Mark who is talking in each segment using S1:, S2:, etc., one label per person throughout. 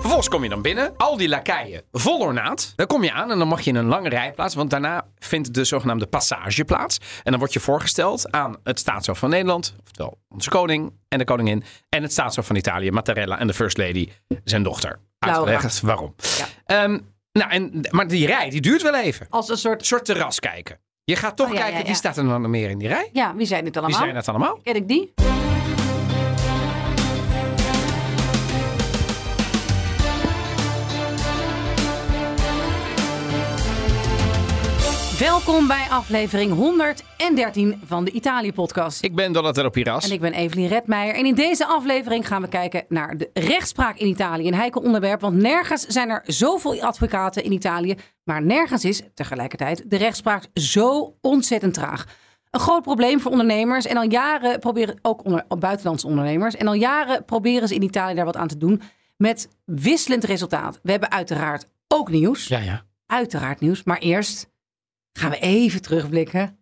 S1: Vervolgens kom je dan binnen, al die lakeien vol ornaat. Dan kom je aan en dan mag je in een lange rijplaats, want daarna vindt de zogenaamde passage plaats. En dan word je voorgesteld aan het staatshoofd van Nederland, oftewel onze koning en de koningin, en het staatshoofd van Italië, Mattarella en de first lady, zijn dochter.
S2: Laura.
S1: Uitgelegd waarom. Ehm, nou, en, maar die rij, die duurt wel even.
S2: Als een
S1: Een
S2: soort...
S1: soort terras kijken. Je gaat toch
S2: Oh, ja,
S1: kijken,
S2: ja, ja.
S1: wie staat er dan nog meer in die rij?
S2: Ja, wie zijn dit
S1: Wie
S2: allemaal?
S1: zijn dat allemaal?
S2: Ken ik die? Welkom bij aflevering 113 van de Italië-podcast.
S1: Ik ben Donatello Piras.
S2: En ik ben Evelien Redmeijer. En in deze aflevering gaan we kijken naar de rechtspraak in Italië. Een heikel onderwerp, want nergens zijn er zoveel advocaten in Italië. Maar nergens is tegelijkertijd de rechtspraak zo ontzettend traag. Een groot probleem voor ondernemers. En al jaren proberen, ook onder, ook buitenlandse ondernemers. En al jaren proberen ze in Italië daar wat aan te doen. Met wisselend resultaat. We hebben uiteraard ook nieuws.
S1: Ja, ja.
S2: Uiteraard nieuws. Maar eerst gaan we even terugblikken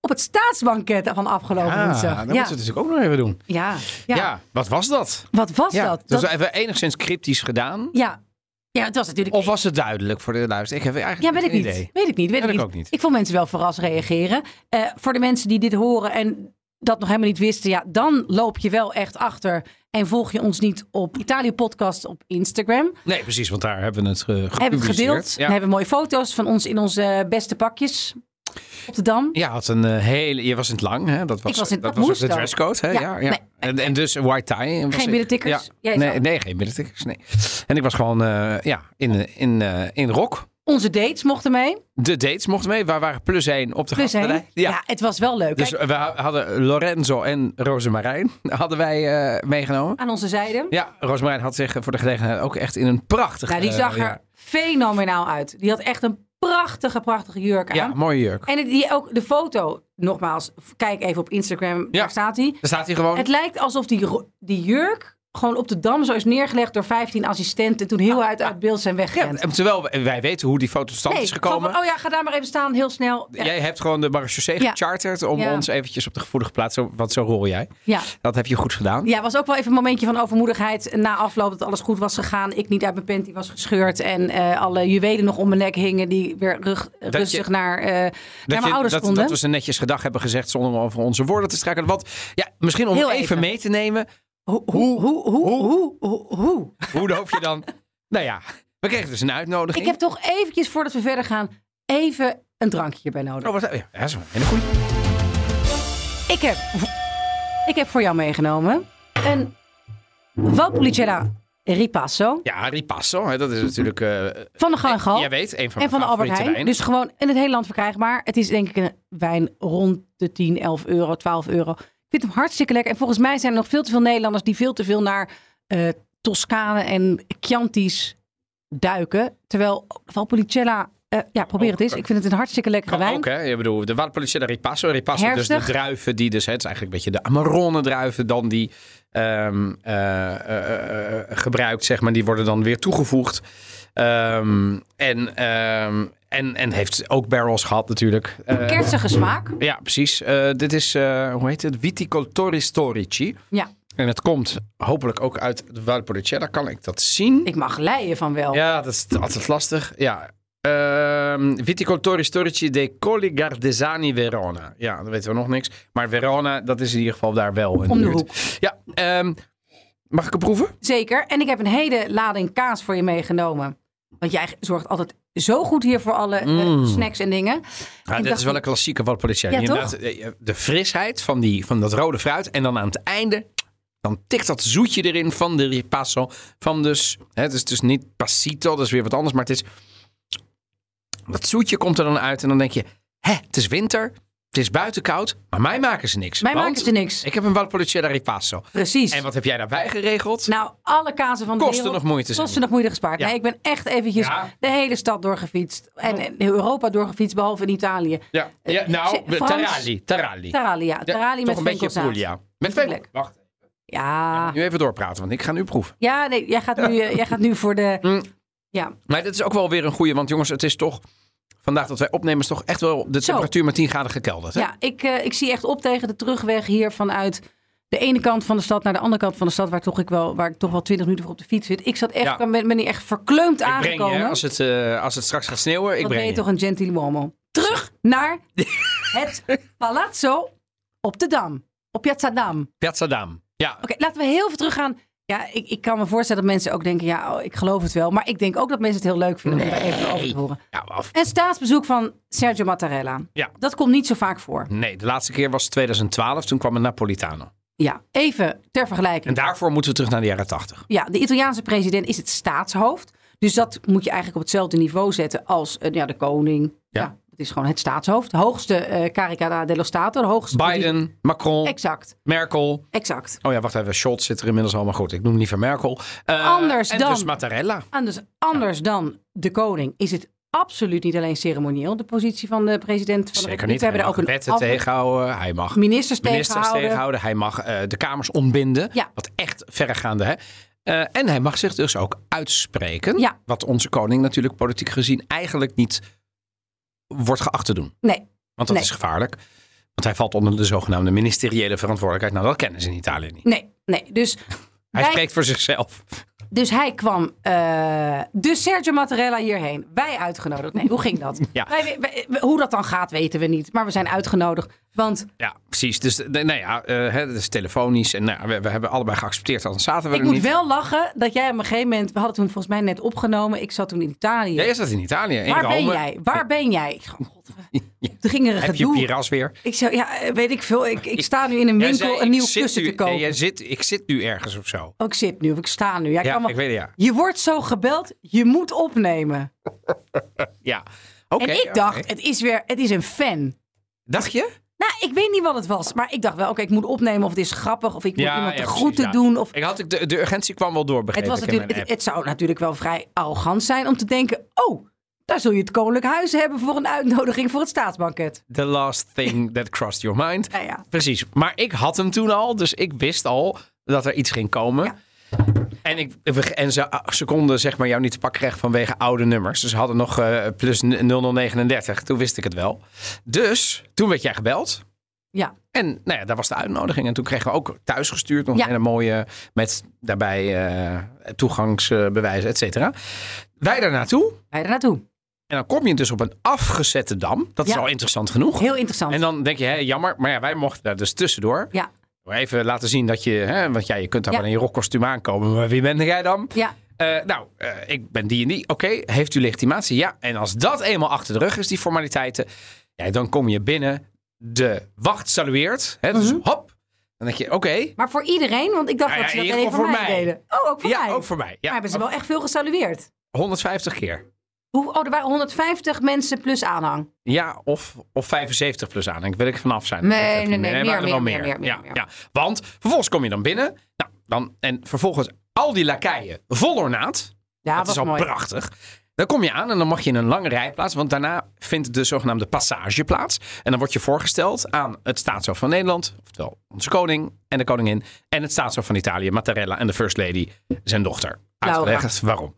S2: op het staatsbanket van afgelopen
S1: Ah, dat
S2: woensdag.
S1: moeten we natuurlijk ook nog even doen.
S2: Ja, ja.
S1: Ja, wat was dat?
S2: wat was
S1: ja,
S2: dat?
S1: was
S2: Dat-
S1: even enigszins cryptisch gedaan.
S2: ja. ja, het was natuurlijk...
S1: Of was het duidelijk voor de luister? Ik heb
S2: ja,
S1: eigenlijk
S2: weet ik
S1: geen
S2: niet.
S1: idee.
S2: Weet ik niet. Weet
S1: Ja,
S2: ik,
S1: dat
S2: niet.
S1: ook niet.
S2: Ik vond mensen wel verrast reageren. Eh, voor de mensen die dit horen en dat nog helemaal niet wisten, ja, dan loop je wel echt achter. En volg je ons niet op Italië Podcast op Instagram.
S1: Nee, precies, want daar hebben we het eh, gepubliceerd.
S2: Hebben we het gedeeld.
S1: Ja.
S2: We hebben mooie foto's van ons in onze eh, beste pakjes op de Dam.
S1: Ja, had een eh, hele. Je was in het lang, hè? Dat was,
S2: Ik was in-
S1: dat
S2: dat
S1: was ook
S2: moest
S1: de
S2: ook.
S1: dresscode, hè? Ja.
S2: Ja,
S1: ja,
S2: nee.
S1: En, en dus white tie. was
S2: Geen
S1: ik.
S2: binnentikkers?
S1: Ja.
S2: Jij
S1: Nee,
S2: wel.
S1: nee, geen binnentikkers. Nee. En ik was gewoon eh, ja, in, eh, in, eh, in rok.
S2: Onze dates mochten mee.
S1: De dates mochten mee. Waar waren plus één op de
S2: Plus één. Ja.
S1: gastenrij. Ja.
S2: het was wel leuk.
S1: Dus
S2: Kijk,
S1: we ha- hadden Lorenzo en Rosemarijn hadden wij eh, meegenomen.
S2: aan onze zijde.
S1: Ja, Rosemarijn had zich voor de gelegenheid ook echt in een prachtig...
S2: Nou, die
S1: eh,
S2: zag er
S1: ja.
S2: fenomenaal uit. Die had echt een prachtige, prachtige jurk aan.
S1: Ja, mooie jurk.
S2: En het- die ook de foto, nogmaals, kijk even op Instagram, daar staat hij.
S1: Daar staat hij gewoon.
S2: Het lijkt alsof die, ro- die jurk gewoon op de dam zo is neergelegd door 15 assistenten. Toen heel uit, uit beeld zijn
S1: Ah, Ja,
S2: weggerend.
S1: en terwijl wij- wij weten hoe die foto tot stand
S2: Nee,
S1: is
S2: gewoon
S1: gekomen.
S2: van, oh ja, ga daar maar even staan, heel snel. Eh, Ja,
S1: Jij hebt gewoon de marechaussee
S2: Ja.
S1: gecharterd om
S2: Ja.
S1: ons eventjes op de gevoelige plaats, zo- want zo rol jij.
S2: ja.
S1: Dat heb je goed gedaan.
S2: Ja, was ook wel even een momentje van overmoedigheid na afloop dat alles goed was gegaan. Ik niet uit mijn panty was gescheurd en eh, alle juwelen nog om mijn nek hingen die weer rug, rustig
S1: je-
S2: naar, eh, naar
S1: Dat,
S2: mijn
S1: je-
S2: ouders
S1: dat,
S2: konden.
S1: dat we ze netjes gedag hebben gezegd zonder over onze woorden te strijken. Want ja, misschien om
S2: Heel
S1: even,
S2: even.
S1: mee te nemen.
S2: Hoe, hoe, hoe, hoe, hoe, hoe, hoe?
S1: Hoe hoop je dan? nou ja, we kregen dus een uitnodiging.
S2: Ik heb toch eventjes, voordat we verder gaan, even een drankje hierbij nodig.
S1: Oh, wat, ja, dat is een hele goeie.
S2: Ik heb, ik heb voor jou meegenomen een Valpolicella Ripasso
S1: Ja, Ripasso, hè, dat is natuurlijk... eh
S2: van de Gal en Gal
S1: jij weet, een van,
S2: en van de
S1: mijn
S2: Albert
S1: favoriete
S2: Heijn.
S1: wijnen.
S2: Dus gewoon in het hele land verkrijgbaar. Het is denk ik een wijn rond de 10, 11 euro, 12 euro. Ik vind hem hartstikke lekker. En volgens mij zijn er nog veel te veel Nederlanders die veel te veel naar eh Toscane en Chianti's duiken. Terwijl Valpolicella, eh, ja probeer het eens. Ik vind het een hartstikke lekkere
S1: Oh, Kan
S2: wijn.
S1: ook, hè? Ik bedoel, de Valpolicella Ripasso. Ripasso, dus de
S2: Herfstig.
S1: druiven die dus... Hè, het is eigenlijk een beetje de Amarone-druiven dan die ehm, eh, eh, eh, eh, gebruikt, zeg maar. Die worden dan weer toegevoegd. Ehm, en, ehm, en, en heeft ook barrels gehad natuurlijk. Eh,
S2: Kerstige smaak.
S1: ja, precies. Eh, dit is, eh, hoe heet het? Viticoltori Storici.
S2: Ja,
S1: En het komt hopelijk ook uit de Valpolicella. Kan ik dat zien?
S2: ik mag leien van wel.
S1: Ja, dat is altijd lastig. Ja. Ehm Viticoltori Storici dei Colli Gardesani Verona. Ja, dat weten we nog niks. Maar Verona, dat is in ieder geval daar wel in
S2: Om de
S1: buurt.
S2: hoek.
S1: Ja, ehm, mag ik hem proeven?
S2: Zeker. En ik heb een hele lading kaas voor je meegenomen. Want jij zorgt altijd zo goed hier voor alle eh, snacks en dingen.
S1: Mm. Ja,
S2: Ik
S1: dit
S2: dacht-
S1: is wel een klassieke Valpolicella.
S2: Ja,
S1: Inderdaad,
S2: toch?
S1: eh, De frisheid van, die, van dat rode fruit. En dan aan het einde, dan tikt dat zoetje erin van de ripasso. Van dus, hè, het is dus niet passito, dat is weer wat anders. Maar het is, dat zoetje komt er dan uit. En dan denk je, hè, het is winter. Het is buiten koud, maar mij maken ze niks.
S2: Mij
S1: want
S2: maken ze niks.
S1: Ik heb een Valpolicella ripasso.
S2: Precies.
S1: En wat heb jij daarbij geregeld?
S2: Nou, alle kazen van de
S1: Kosten
S2: wereld.
S1: nog moeite, zeg
S2: Kosten
S1: maar.
S2: nog moeite gespaard.
S1: Ja.
S2: Nee, ik ben echt eventjes
S1: Ja.
S2: de hele stad doorgefietst. En, en Europa doorgefietst, behalve in Italië.
S1: ja, ja, nou,
S2: Eh, Frans-
S1: Tarali. Tarali.
S2: Terralia. Ja,
S1: Ja,
S2: Terralia
S1: toch
S2: met
S1: een beetje
S2: venkelzaad. Ah.
S1: Puglia. Met
S2: Leuk.
S1: venkel. Wacht,
S2: Ja.
S1: nu even doorpraten, want ik ga nu proeven.
S2: Ja, nee, jij gaat nu, eh, jij gaat nu voor de...
S1: Mm.
S2: Ja,
S1: Maar dit is ook wel weer een goeie, want jongens, het is toch... Vandaag dat wij opnemen is toch echt wel de
S2: Zo.
S1: temperatuur met 10 graden gekelderd. Hè?
S2: ja ik, eh, ik zie echt op tegen de terugweg hier vanuit de ene kant van de stad naar de andere kant van de stad, waar, toch ik wel, waar ik toch wel twintig minuten voor op de fiets zit. Ik zat echt,
S1: Ja.
S2: ik ben, ben hier echt verkleumd
S1: ik breng je,
S2: aangekomen.
S1: hè, als het, eh, als het straks gaat sneeuwen, ik
S2: Wat ben
S1: breng
S2: je
S1: je.
S2: toch een gentiluomo. Terug naar het Palazzo op de Dam. Op Piazza Dam. Oké,
S1: Piazza Dam. Ja,
S2: laten we heel even teruggaan. Ja, ik, ik kan me voorstellen dat mensen ook denken, ja, oh, ik geloof het wel. Maar ik denk ook dat mensen het heel leuk vinden om daar even over te horen.
S1: ja af.
S2: Een staatsbezoek van Sergio Mattarella.
S1: Ja.
S2: Dat komt niet zo vaak voor.
S1: Nee, de laatste keer was 2012, toen kwam een Napolitano.
S2: Ja, even ter
S1: En
S2: vergelijking.
S1: daarvoor moeten we terug naar de jaren 80.
S2: Ja, de Italiaanse president is het staatshoofd. Dus dat moet je eigenlijk op hetzelfde niveau zetten als eh, ja, de koning.
S1: Ja.
S2: dat is gewoon het staatshoofd. De hoogste eh Caricata dello Stato. De hoogste
S1: Biden, Macron,
S2: Exact,
S1: Merkel.
S2: exact.
S1: Oh ja, wacht even, Scholz zit er inmiddels al, maar goed, ik noem liever Merkel. Eh,
S2: Anders
S1: en
S2: dan.
S1: dus Mattarella.
S2: En dus anders dan de koning is het absoluut niet alleen ceremonieel, de positie van de president. Van de
S1: Zeker
S2: Republiek.
S1: niet.
S2: We hebben
S1: Hij
S2: er
S1: mag
S2: ook een
S1: wetten
S2: af-
S1: tegenhouden, hij mag
S2: ministers,
S1: ministers
S2: tegenhouden.
S1: tegenhouden. Hij mag eh, de kamers ontbinden.
S2: Ja.
S1: Wat echt verregaande, hè? Eh, en hij mag zich dus ook uitspreken.
S2: Ja.
S1: Wat onze koning natuurlijk politiek gezien eigenlijk niet wordt geacht te doen.
S2: Nee,
S1: Want dat
S2: Nee.
S1: is gevaarlijk. Want hij valt onder de zogenaamde ministeriële verantwoordelijkheid. Nou, dat kennen ze in Italië niet.
S2: nee, nee. Dus
S1: Hij
S2: wij-
S1: spreekt voor zichzelf.
S2: Dus hij kwam, eh, dus Sergio Mattarella hierheen. Wij uitgenodigd. Nee, hoe ging dat?
S1: Ja.
S2: Wij- wij- wij- hoe dat dan gaat, weten we niet. Maar we zijn uitgenodigd. Want
S1: Ja, precies. Dus eh, nou ja, eh, hè, dat is telefonisch. En nou, ja, we, we hebben allebei geaccepteerd, anders zaten we
S2: ik
S1: er
S2: moet
S1: niet.
S2: wel lachen dat jij op een gegeven moment... We hadden toen volgens mij net opgenomen. Ik zat toen in Italië.
S1: Jij zat in Italië, in
S2: Waar
S1: Rome.
S2: ben jij? Waar ben jij? Ik dacht, God, er ging er een
S1: Heb je
S2: gedoe.
S1: Piras weer?
S2: Ik zei, ja, eh, weet ik veel. Ik, ik sta nu in een
S1: Jij
S2: winkel
S1: zei,
S2: een
S1: ik
S2: nieuw
S1: zit
S2: kussen
S1: nu-
S2: te kopen.
S1: Nee, jij zit, ik zit nu ergens of zo.
S2: Oh, ik zit nu, of ik sta nu. Ja, ik
S1: Ja,
S2: kan maar-
S1: ik weet het, ja.
S2: Je wordt zo gebeld, je moet opnemen.
S1: Ja. Oké.
S2: en ik
S1: oké.
S2: dacht, het is weer, het is een fan.
S1: Dacht je?
S2: Nou, ik weet niet wat het was. Maar ik dacht wel, oké, ik moet opnemen of het is grappig. Of ik moet iemand de groeten doen. Of...
S1: Ik had, ik- de, de urgentie kwam wel door, begreep
S2: Het, was
S1: ik, in
S2: natuurlijk,
S1: mijn
S2: het, het zou natuurlijk wel vrij arrogant zijn om te denken... oh, daar zul je het Koninklijk Huis hebben voor een uitnodiging voor het staatsbanket.
S1: app. The last thing that crossed your mind.
S2: Nou ja.
S1: Precies. Maar ik had hem toen al, dus ik wist al dat er iets ging komen.
S2: Ja.
S1: En, ik, en ze, ah, ze konden zeg maar jou niet te pakken krijgen vanwege oude nummers. Dus ze hadden nog eh, plus 0039. Toen wist ik het wel. Dus toen werd jij gebeld.
S2: Ja,
S1: En nou ja, daar was de uitnodiging. En toen kregen we ook thuis gestuurd nog
S2: Ja.
S1: een hele mooie... met daarbij eh, toegangsbewijzen, et cetera. Wij daar naartoe.
S2: ga je er naartoe.
S1: En dan kom je dus op een afgezette dam. Dat is
S2: Ja.
S1: al interessant genoeg.
S2: Heel interessant.
S1: En dan denk je, hé, jammer. Maar ja, wij mochten daar dus tussendoor.
S2: Ja,
S1: Maar Even laten zien dat je... Hè, want ja, je kunt daar
S2: Ja.
S1: wel in je rockkostuum aankomen. Maar wie ben jij dan?
S2: ja.
S1: Eh, nou, eh, ik ben die en die. Oké, heeft u legitimatie? Ja. En als dat eenmaal achter de rug is, die formaliteiten, ja, dan kom je binnen. De wacht salueert. Hè, dus
S2: Mhm.
S1: hop. Dan denk je, oké.
S2: Maar voor iedereen, want ik dacht
S1: Nou
S2: dat ze
S1: ja,
S2: dat
S1: in
S2: alleen
S1: ieder
S2: voor
S1: geval
S2: mij,
S1: voor mij.
S2: deden. Oh, ook voor
S1: Ja,
S2: mij.
S1: ook voor mij.
S2: Maar
S1: Ja,
S2: hebben ze wel echt veel gesalueerd.
S1: 150 keer.
S2: Hoe, oh, er waren 150 mensen plus aanhang.
S1: Ja, of, of 75 plus aan. Ik wil ik vanaf zijn.
S2: Nee,
S1: Dat weet ik
S2: nee,
S1: niet
S2: nee,
S1: maar
S2: meer,
S1: er wel
S2: meer, meer, meer,
S1: ja,
S2: meer.
S1: Ja. Want vervolgens kom je dan binnen. Nou, dan, en vervolgens al die lakeien vol ornaat.
S2: Ja,
S1: dat
S2: was
S1: is al
S2: mooi.
S1: prachtig. Dan kom je aan en dan mag je in een lange rij plaatsen. Want daarna vindt de zogenaamde passage plaats. En dan word je voorgesteld aan het staatshoofd van Nederland. Oftewel onze koning en de koningin. En het staatshoofd van Italië, Mattarella. En de first lady, zijn dochter.
S2: Laura.
S1: Uitgelegd waarom.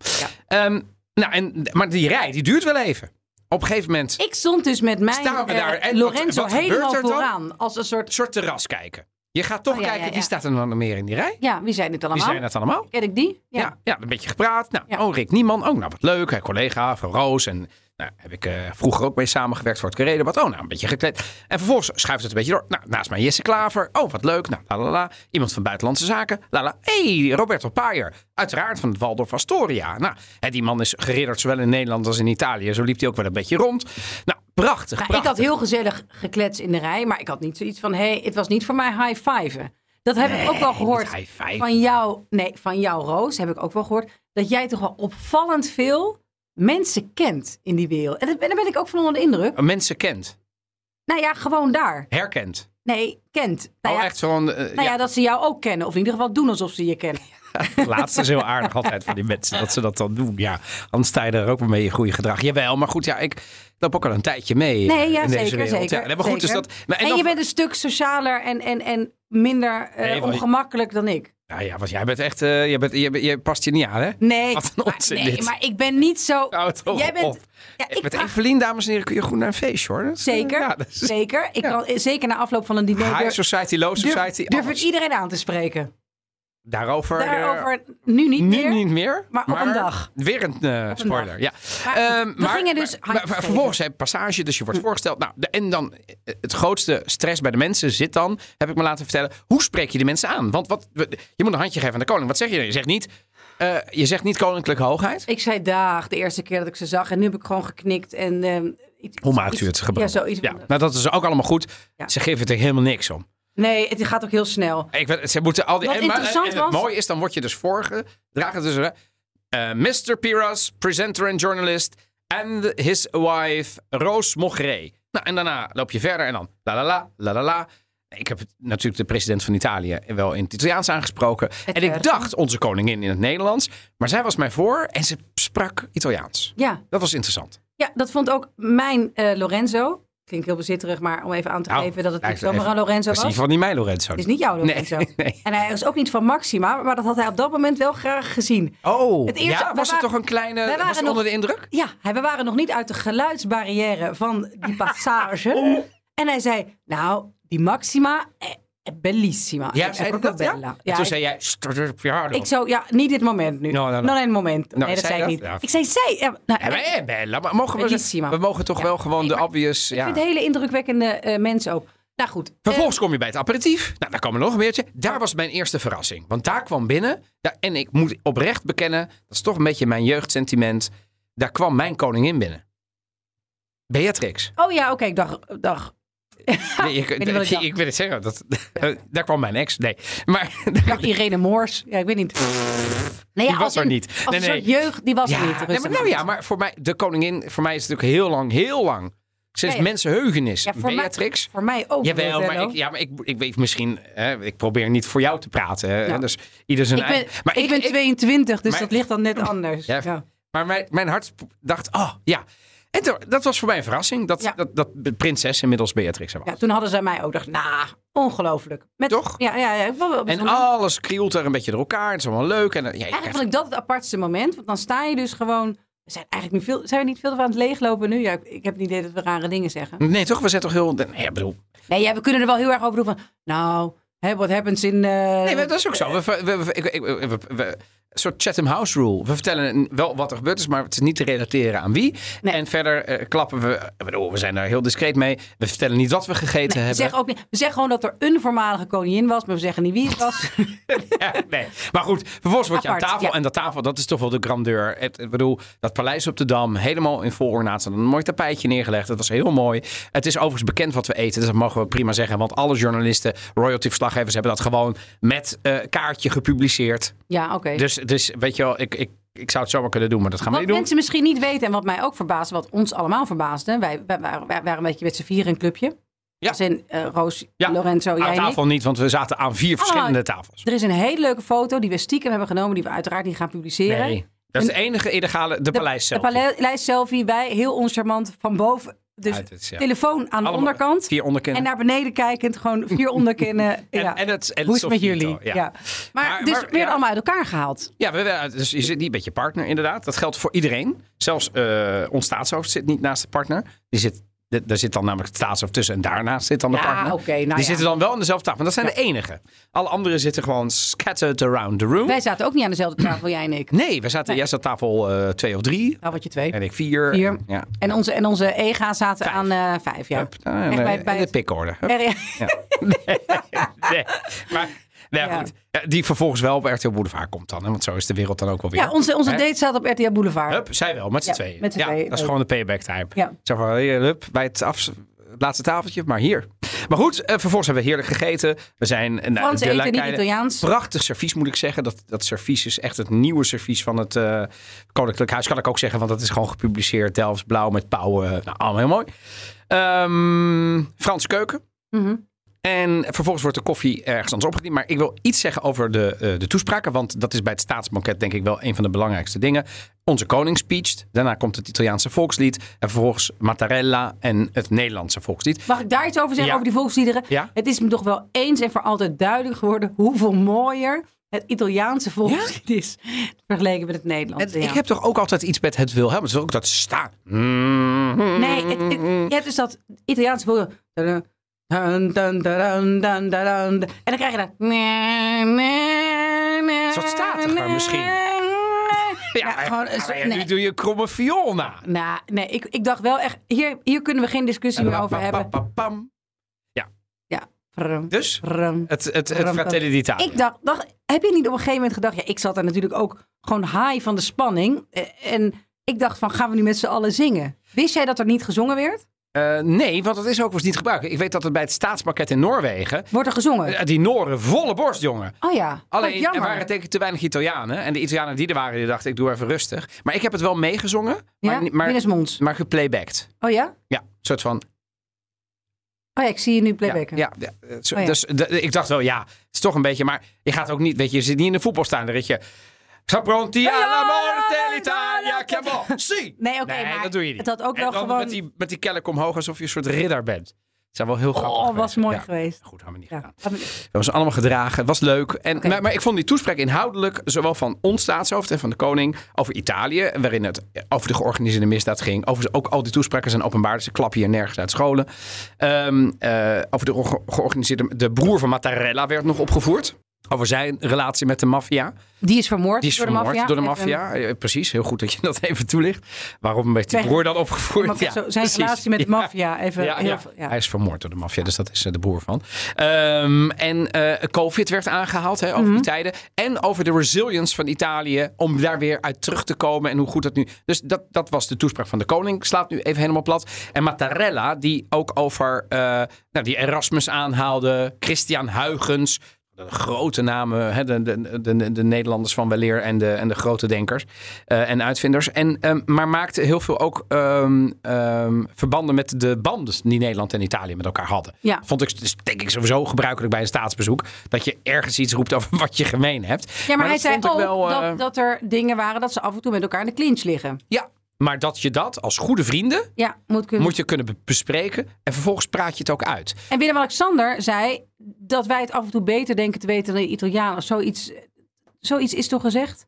S1: Ehm, nou, en, maar die rij, die duurt wel even. Op een gegeven moment
S2: Ik stond dus met mijn
S1: Staan we
S2: eh,
S1: daar en wat-
S2: Lorenzo
S1: wat gebeurt
S2: helemaal
S1: er dan?
S2: vooraan. Als een soort,
S1: een soort terras kijken. Je gaat toch
S2: Oh, ja,
S1: kijken,
S2: ja, ja.
S1: wie staat er dan meer in die rij?
S2: ja, wie zijn dit
S1: Wie
S2: allemaal?
S1: zijn dat allemaal?
S2: Ken ik die? Nou,
S1: Ja, ja, een beetje gepraat. Nou,
S2: Ja.
S1: oh, Rick Nieman. Oh, nou, wat leuk. Hè, collega van Roos. En nou, heb ik eh, vroeger ook mee samengewerkt voor het Carré Wat, oh, nou, een beetje gekleed. En vervolgens schuift het een beetje door. Nou, naast mij Jesse Klaver. Oh, wat leuk. Nou, la, la, la. Iemand van Buitenlandse Zaken. La, la. hey, Roberto Paier. Uiteraard van het Waldorf Astoria. Nou, hè, die man is geridderd zowel in Nederland als in Italië. Zo liep hij ook wel een beetje rond. Nou, prachtig,
S2: Nou, ik
S1: prachtig.
S2: had heel gezellig gekletst in de rij, maar ik had niet zoiets van: hey, het was niet voor mij high fiven. Dat heb ik ook wel gehoord
S1: high five.
S2: van jou, nee, van jou, Roos, heb ik ook wel gehoord dat jij toch wel opvallend
S1: Oh.
S2: veel mensen kent in die wereld. En dat- en daar ben ik ook van onder de indruk.
S1: Mensen kent.
S2: Nou ja, gewoon daar.
S1: Herkend.
S2: Nee, kent. Nou
S1: oh,
S2: ja,
S1: echt zo'n... eh,
S2: Nou ja, dat ze jou ook kennen. Of in ieder geval doen alsof ze je kennen.
S1: Het laatste is heel aardig altijd van die mensen dat ze dat dan doen. Ja, anders sta je er ook wel mee in goede gedrag. Jawel, maar goed, ja, ik loop ook al een tijdje mee eh,
S2: Nee, ja,
S1: in deze
S2: zeker,
S1: wereld.
S2: zeker,
S1: ja, nee, maar goed,
S2: zeker.
S1: dus dat. Maar, en
S2: En,
S1: dan-
S2: je bent een stuk socialer en, en, en minder eh,
S1: Nee, want-
S2: ongemakkelijk dan ik.
S1: Nou ja, want jij bent echt, eh, jij bent, je, bent- je past je niet aan, hè?
S2: Nee,
S1: Wat een
S2: maar-
S1: onzin
S2: nee
S1: dit.
S2: maar ik ben niet zo...
S1: Nou, toch
S2: Jij bent-
S1: op.
S2: Ja, ik
S1: Met
S2: draag-
S1: Evelien, dames en heren, kun je goed naar een feestje, hoor. Dat is, eh,
S2: Zeker,
S1: Ja, dat is
S2: zeker. Ik
S1: ja.
S2: kan, eh, zeker na afloop van een diner...
S1: high
S2: durf-
S1: society, low
S2: durf-
S1: society.
S2: durf
S1: alles.
S2: het iedereen aan te spreken.
S1: Daarover, eh,
S2: Daarover nu niet
S1: nu
S2: meer.
S1: niet meer.
S2: maar op een dag.
S1: Weer een eh, spoiler, ja.
S2: Maar
S1: Ehm,
S2: goed, we gingen dus
S1: maar, maar
S2: high Hm.
S1: vervolgens heb je passage, dus je wordt voorgesteld. Nou, de- en dan eh, het grootste stress bij de mensen zit dan, heb ik me laten vertellen, hoe spreek je de mensen aan? Want wat, we- je moet een handje geven aan de koning. Wat zeg je? dan? Je zegt niet, eh, je zegt niet koninklijke hoogheid.
S2: Ik zei dag de eerste keer dat ik ze zag. En nu heb ik gewoon geknikt. En, ehm, iets-
S1: Hoe maakt
S2: iets-
S1: u het gebruik?
S2: Ja, zoiets.
S1: Ja, nou dat is ook allemaal goed.
S2: Ja.
S1: Ze geven het er helemaal niks om.
S2: Nee, het gaat ook heel snel.
S1: Ik, weet- ze moeten al die,
S2: Wat
S1: en, maar-
S2: interessant
S1: en het
S2: was-
S1: mooie is, dan word je dus voorgedragen tussen... dus eh, Mr. Piras, presenter en journalist. And his wife, Rose Mogheré. Nou, en daarna loop je verder en dan la la la, la la la. Ik heb het- natuurlijk de president van Italië wel in het Italiaans aangesproken. en ik
S2: werd.
S1: dacht onze koningin in het Nederlands. Maar zij was mij voor en ze sprak Italiaans.
S2: Ja,
S1: Dat was interessant.
S2: ja dat vond ook mijn eh, Lorenzo. Klinkt heel bezitterig, maar om even aan te
S1: Nou,
S2: geven dat het niet
S1: lijkt
S2: zomaar
S1: even-
S2: een Lorenzo
S1: Dat is in
S2: was.
S1: ieder geval niet mij, Lorenzo.
S2: Het is niet jouw Lorenzo.
S1: Nee, nee.
S2: En hij is ook niet van Maxima, maar dat had hij op dat moment wel graag gezien.
S1: Oh,
S2: Het eerste-
S1: ja,
S2: we
S1: was het
S2: waren-
S1: toch een kleine...
S2: wij
S1: Was
S2: waren
S1: het
S2: nog-
S1: onder de indruk?
S2: Ja, hij- we waren nog niet uit de geluidsbarrière van die
S1: Oh.
S2: passage. en hij zei, nou, die Maxima eh, eh, bellissima.
S1: Ja,
S2: Eh,
S1: zei hij
S2: proprio
S1: dat, ja?
S2: bella.
S1: En toen
S2: ik-
S1: zei jij...
S2: ik zou, ja, niet dit moment nu.
S1: No, no, no.
S2: Non een moment. nee, dat
S1: zei
S2: zei ik
S1: dat?
S2: niet.
S1: Ja.
S2: Ik zei zij. Ja, nou,
S1: Ja, maar, eh, Bella, maar mogen we,
S2: Bellissima.
S1: we mogen toch wel gewoon de obvious...
S2: Ik
S1: Ja.
S2: vind het hele indrukwekkende eh, mensen ook. Nou goed.
S1: Vervolgens kom je bij het aperitief. Nou, daar kwam er nog een beetje. Daar was mijn eerste verrassing. Want daar kwam binnen... daar- en ik moet oprecht bekennen... dat is toch een beetje mijn jeugdsentiment. Daar kwam mijn koningin binnen. Beatrix.
S2: Eh, oh ja, oké, ik dacht, dacht.
S1: Nee, ik,
S2: weet niet wat ik
S1: ik,
S2: dacht.
S1: ik wil het zeggen. Dat, daar kwam mijn ex. Nee. Maar
S2: dacht Irene Moors. Ja, ik weet niet. Nee, ja,
S1: die was
S2: als
S1: er
S2: een-
S1: niet.
S2: Als
S1: Nee,
S2: een
S1: nee.
S2: soort jeugd, die was er niet.
S1: Ja, nee, maar,
S2: rustig
S1: nou
S2: aan.
S1: ja, maar voor mij, de koningin, voor mij is het natuurlijk heel lang, heel lang. Sinds
S2: Ja, ja.
S1: mensenheugenis.
S2: Ja, voor mij-
S1: Beatrix.
S2: Voor mij ook.
S1: Jawel, maar,
S2: Donatello.
S1: ik, ja, maar ik, ik weet misschien, hè, ik probeer niet voor jou te praten. Hè,
S2: Ja.
S1: Dus ieder zijn
S2: Nou, Ik ben,
S1: eigen-
S2: ik, ben 22, dus
S1: maar-
S2: dat ligt dan net anders.
S1: Ja.
S2: Ja.
S1: Maar mijn, mijn hart dacht, oh ja. En toen- dat was voor mij een verrassing, dat,
S2: Ja.
S1: dat, dat de prinses inmiddels Beatrix er was.
S2: Ja, toen hadden zij mij ook dacht, nou, ongelooflijk. Met,
S1: Toch?
S2: Ja, ja, ja. ik was wel
S1: en
S2: bijzonder.
S1: alles krielt er een beetje door elkaar. Het is allemaal leuk. En, eh, ja, je
S2: Eigenlijk
S1: krijgt-
S2: vond ik dat het apartste moment, want dan sta je dus gewoon... We zijn eigenlijk nu veel, zijn we niet veel aan het leeglopen nu? Ja, ik, ik heb het idee dat we rare dingen zeggen.
S1: Nee, toch? We zijn toch heel... Nee, ik bedoel,
S2: Nee, ja, we kunnen er wel heel erg over doen van... Nou, hè, what happens in... eh,
S1: nee, maar dat is ook zo. We, we, we- ik- ik- we- we- we- een soort Chatham House rule. We vertellen wel wat er gebeurd is, maar het is niet te relateren aan wie.
S2: Nee.
S1: En verder eh, klappen we... ik bedoel, we zijn daar heel discreet mee. We vertellen niet wat we gegeten
S2: we,
S1: hebben.
S2: zeggen ook niet, we zeggen gewoon dat er een voormalige koningin was, maar we zeggen niet wie het was.
S1: Ja, nee. Maar goed, vervolgens word je aan
S2: Apart,
S1: tafel.
S2: ja.
S1: En dat tafel, dat is toch wel de grandeur. Het, ik bedoel, dat paleis op de Dam, helemaal in vol ornaat. Ze hadden Een mooi tapijtje neergelegd. Dat was heel mooi. Het is overigens bekend wat we eten. Dus dat mogen we prima zeggen. Want alle journalisten, royalty-verslaggevers hebben dat gewoon met eh, kaartje gepubliceerd.
S2: ja, oké.
S1: Dus, dus weet je wel, ik, ik, ik zou het zomaar kunnen doen, maar dat gaan we
S2: Wat
S1: niet doen.
S2: mensen misschien niet weten en wat mij ook verbaasde, wat ons allemaal verbaasde. Wij, wij, waren- wij waren een beetje met z'n vier een clubje.
S1: Ja.
S2: Als in eh, Roos,
S1: Ja,
S2: Lorenzo, jij Ah,
S1: Aan
S2: en ik.
S1: tafel niet, want we zaten aan vier verschillende tafels.
S2: Er is een hele leuke foto die we stiekem hebben genomen, die we uiteraard niet gaan publiceren.
S1: Nee, dat is de enige illegale, de paleis zelf.
S2: De paleis selfie, wij heel oncharmant van boven. Dus
S1: Uit het, ja.
S2: telefoon aan de
S1: Allemaal
S2: onderkant.
S1: Vier onderkennen.
S2: En naar beneden kijkend, gewoon vier onderkennen.
S1: En-
S2: ja.
S1: en het- en
S2: Hoe
S1: het
S2: is het met
S1: Sofitel,
S2: jullie?
S1: ja.
S2: Ja. Maar,
S1: Maar-
S2: dus
S1: maar-
S2: weer
S1: ja.
S2: allemaal uit elkaar gehaald.
S1: Ja, we, we- dus je zit niet met je partner, inderdaad. Dat geldt voor iedereen. Zelfs eh ons staatshoofd zit niet naast de partner. Die zit, de- daar zit dan namelijk het staatshoofd tussen en daarnaast zit dan de
S2: Ja,
S1: partner.
S2: oké, nou
S1: die
S2: ja.
S1: zitten dan wel aan dezelfde tafel. Maar dat zijn de enige. Alle anderen zitten gewoon scattered around the room.
S2: Wij zaten ook niet aan dezelfde tafel, jij en ik.
S1: Nee, we zaten, jij zat tafel eh, twee of drie.
S2: Tafeltje twee.
S1: En ik vier.
S2: Vier.
S1: En, ja.
S2: En onze, en onze EGA zaten
S1: Vijf.
S2: aan eh, vijf, ja.
S1: Hup, nou, en,
S2: Echt bij-
S1: eh,
S2: bij
S1: en de
S2: het-
S1: pikorde. Hup.
S2: Er-
S1: Nee, maar... Nou, ja.
S2: Ja.
S1: goed. Ja, Die vervolgens wel op RTL Boulevard komt dan. Hè? Want zo is de wereld dan ook wel weer.
S2: ja, onze, onze
S1: Hè?
S2: date zat op RTL Boulevard.
S1: Hup, zij wel, met z'n
S2: Ja,
S1: tweeën.
S2: met z'n
S1: ja,
S2: tweeën.
S1: dat is gewoon de payback time.
S2: Ja.
S1: Zo van, hey, hup, bij het, af, het laatste tafeltje, maar hier. Maar goed, eh, vervolgens hebben we heerlijk gegeten. We zijn... eh, nou,
S2: Frans
S1: de
S2: eten, niet
S1: lakeilen-
S2: Italiaans.
S1: Prachtig servies, moet ik zeggen. Dat, dat servies is echt het nieuwe servies van het eh, Koninklijk Huis. Kan ik ook zeggen, want dat is gewoon gepubliceerd. Delfts Blauw met pauwen. Nou, eh, allemaal heel mooi. Ehm Frans Keuken.
S2: Mhm.
S1: En vervolgens wordt de koffie ergens anders opgediend. Maar ik wil iets zeggen over de, eh, de toespraken. Want dat is bij het staatsbanket denk ik wel een van de belangrijkste dingen. Onze koning speecht. Daarna komt het Italiaanse volkslied. En vervolgens Mattarella en het Nederlandse volkslied.
S2: Mag ik daar iets over zeggen,
S1: Ja.
S2: over die volksliederen?
S1: Ja.
S2: Het is me toch wel eens en voor altijd duidelijk geworden hoeveel mooier het Italiaanse volkslied is vergeleken met het
S1: Het-
S2: Nederlandse. ja.
S1: Ik heb toch ook altijd iets met het Wilhelm. Het is ook dat staan.
S2: Nee, het, het, ja, het is dat Italiaanse volkslied. Dun, dun, dun, dun, dun, dun, dun. En dan krijg je dat.
S1: Een soort statiger misschien. Ja,
S2: gewoon een soort-
S1: Nu
S2: nee.
S1: doe je kromme viool na.
S2: Nou, nee, ik, ik dacht wel echt, hier, hier kunnen we geen discussie meer over hebben.
S1: Pam.
S2: Prum,
S1: Dus
S2: prum.
S1: het, het, het Fratelli d'Italia.
S2: Ik dacht, dacht, heb je niet op een gegeven moment gedacht... Ja, ik zat daar natuurlijk ook gewoon high van de spanning. Eh, En ik dacht van, gaan we nu met z'n allen zingen? Wist jij dat er niet gezongen werd?
S1: Eh, nee, want dat is ook wel eens niet gebruikt. Ik weet dat het bij het staatspakket in Noorwegen.
S2: Wordt er gezongen?
S1: eh, die Noren volle borst, jongen.
S2: oh ja,
S1: Alleen
S2: Wat
S1: er
S2: jammer.
S1: waren denk ik te weinig Italianen. En de Italianen die er waren, die dachten ik doe even rustig. Maar ik heb het wel meegezongen, maar,
S2: ja?
S1: niet- maar,
S2: binnensmonds.
S1: maar geplaybacked.
S2: Oh ja?
S1: Ja, een soort van.
S2: Oh ja, ik zie je nu
S1: Ja,
S2: playbacken.
S1: ja, ja, eh, zo-
S2: Oh ja.
S1: Dus de- ik dacht wel, ja, het is toch een beetje. Maar je gaat ook niet, weet je, je zit niet in de voetbalstaan. Dan rit je. Sapronti alla morte l'Italia, chiamo. Si!
S2: Nee, oké,
S1: nee,
S2: maar
S1: dat doe je niet.
S2: het had ook
S1: En
S2: wel
S1: dan
S2: gewoon...
S1: Met die, met die kelk omhoog alsof je een soort ridder bent. Het zou wel heel grappig
S2: oh, was
S1: geweest
S2: mooi
S1: zijn. Ja,
S2: geweest.
S1: Goed, hebben we niet gedaan.
S2: Ja.
S1: We hebben ze allemaal gedragen. Het was leuk. En,
S2: Oké.
S1: maar, maar ik vond die toespraak inhoudelijk, zowel van ons staatshoofd en van de koning, over Italië, waarin het over de georganiseerde misdaad ging. Overigens ook al die toespraken zijn openbaar, dus ze klappen hier nergens uit scholen. Ehm, eh, over de ge- georganiseerde... De broer van Mattarella werd nog opgevoerd. Over zijn relatie met de maffia.
S2: Die is vermoord
S1: Die is
S2: door de
S1: vermoord
S2: maffia.
S1: door de
S2: Even-
S1: maffia. Eh, Precies, heel goed dat je dat even toelicht. Waarom werd die
S2: Weg.
S1: broer dan opgevoerd?
S2: Maar
S1: Ja,
S2: zo- zijn
S1: precies.
S2: relatie met de
S1: Ja.
S2: maffia. Even
S1: Ja,
S2: heel
S1: ja.
S2: veel- ja.
S1: Hij is vermoord door de maffia, dus dat is eh, de broer van. Ehm, en eh, COVID werd aangehaald hè, over
S2: Mhm.
S1: die tijden. En over de resilience van Italië om daar weer uit terug te komen en hoe goed dat nu... Dus dat, dat was de toespraak van de koning. Slaat nu even helemaal plat. En Mattarella, die ook over eh, nou, die Erasmus aanhaalde. Christian Huygens. De grote namen, hè, de, de, de, de Nederlanders van weleer en de, en de grote denkers eh, en uitvinders. En, ehm, maar maakte heel veel ook ehm, ehm, verbanden met de band die Nederland en Italië met elkaar hadden.
S2: Ja.
S1: Vond ik dus, denk ik sowieso gebruikelijk bij een staatsbezoek. Dat je ergens iets roept over wat je gemeen hebt.
S2: Ja, maar, hij
S1: dat
S2: zei ook
S1: vond ik wel, eh,
S2: dat, dat er dingen waren dat ze af en toe met elkaar in de clinch liggen.
S1: Ja, maar dat je dat als goede vrienden
S2: Ja, moet kunnen.
S1: moet je kunnen be- bespreken. En vervolgens praat je het ook uit.
S2: En Willem-Alexander zei dat wij het af en toe beter denken te weten dan de Italianen. Zoiets, zoiets is toch gezegd?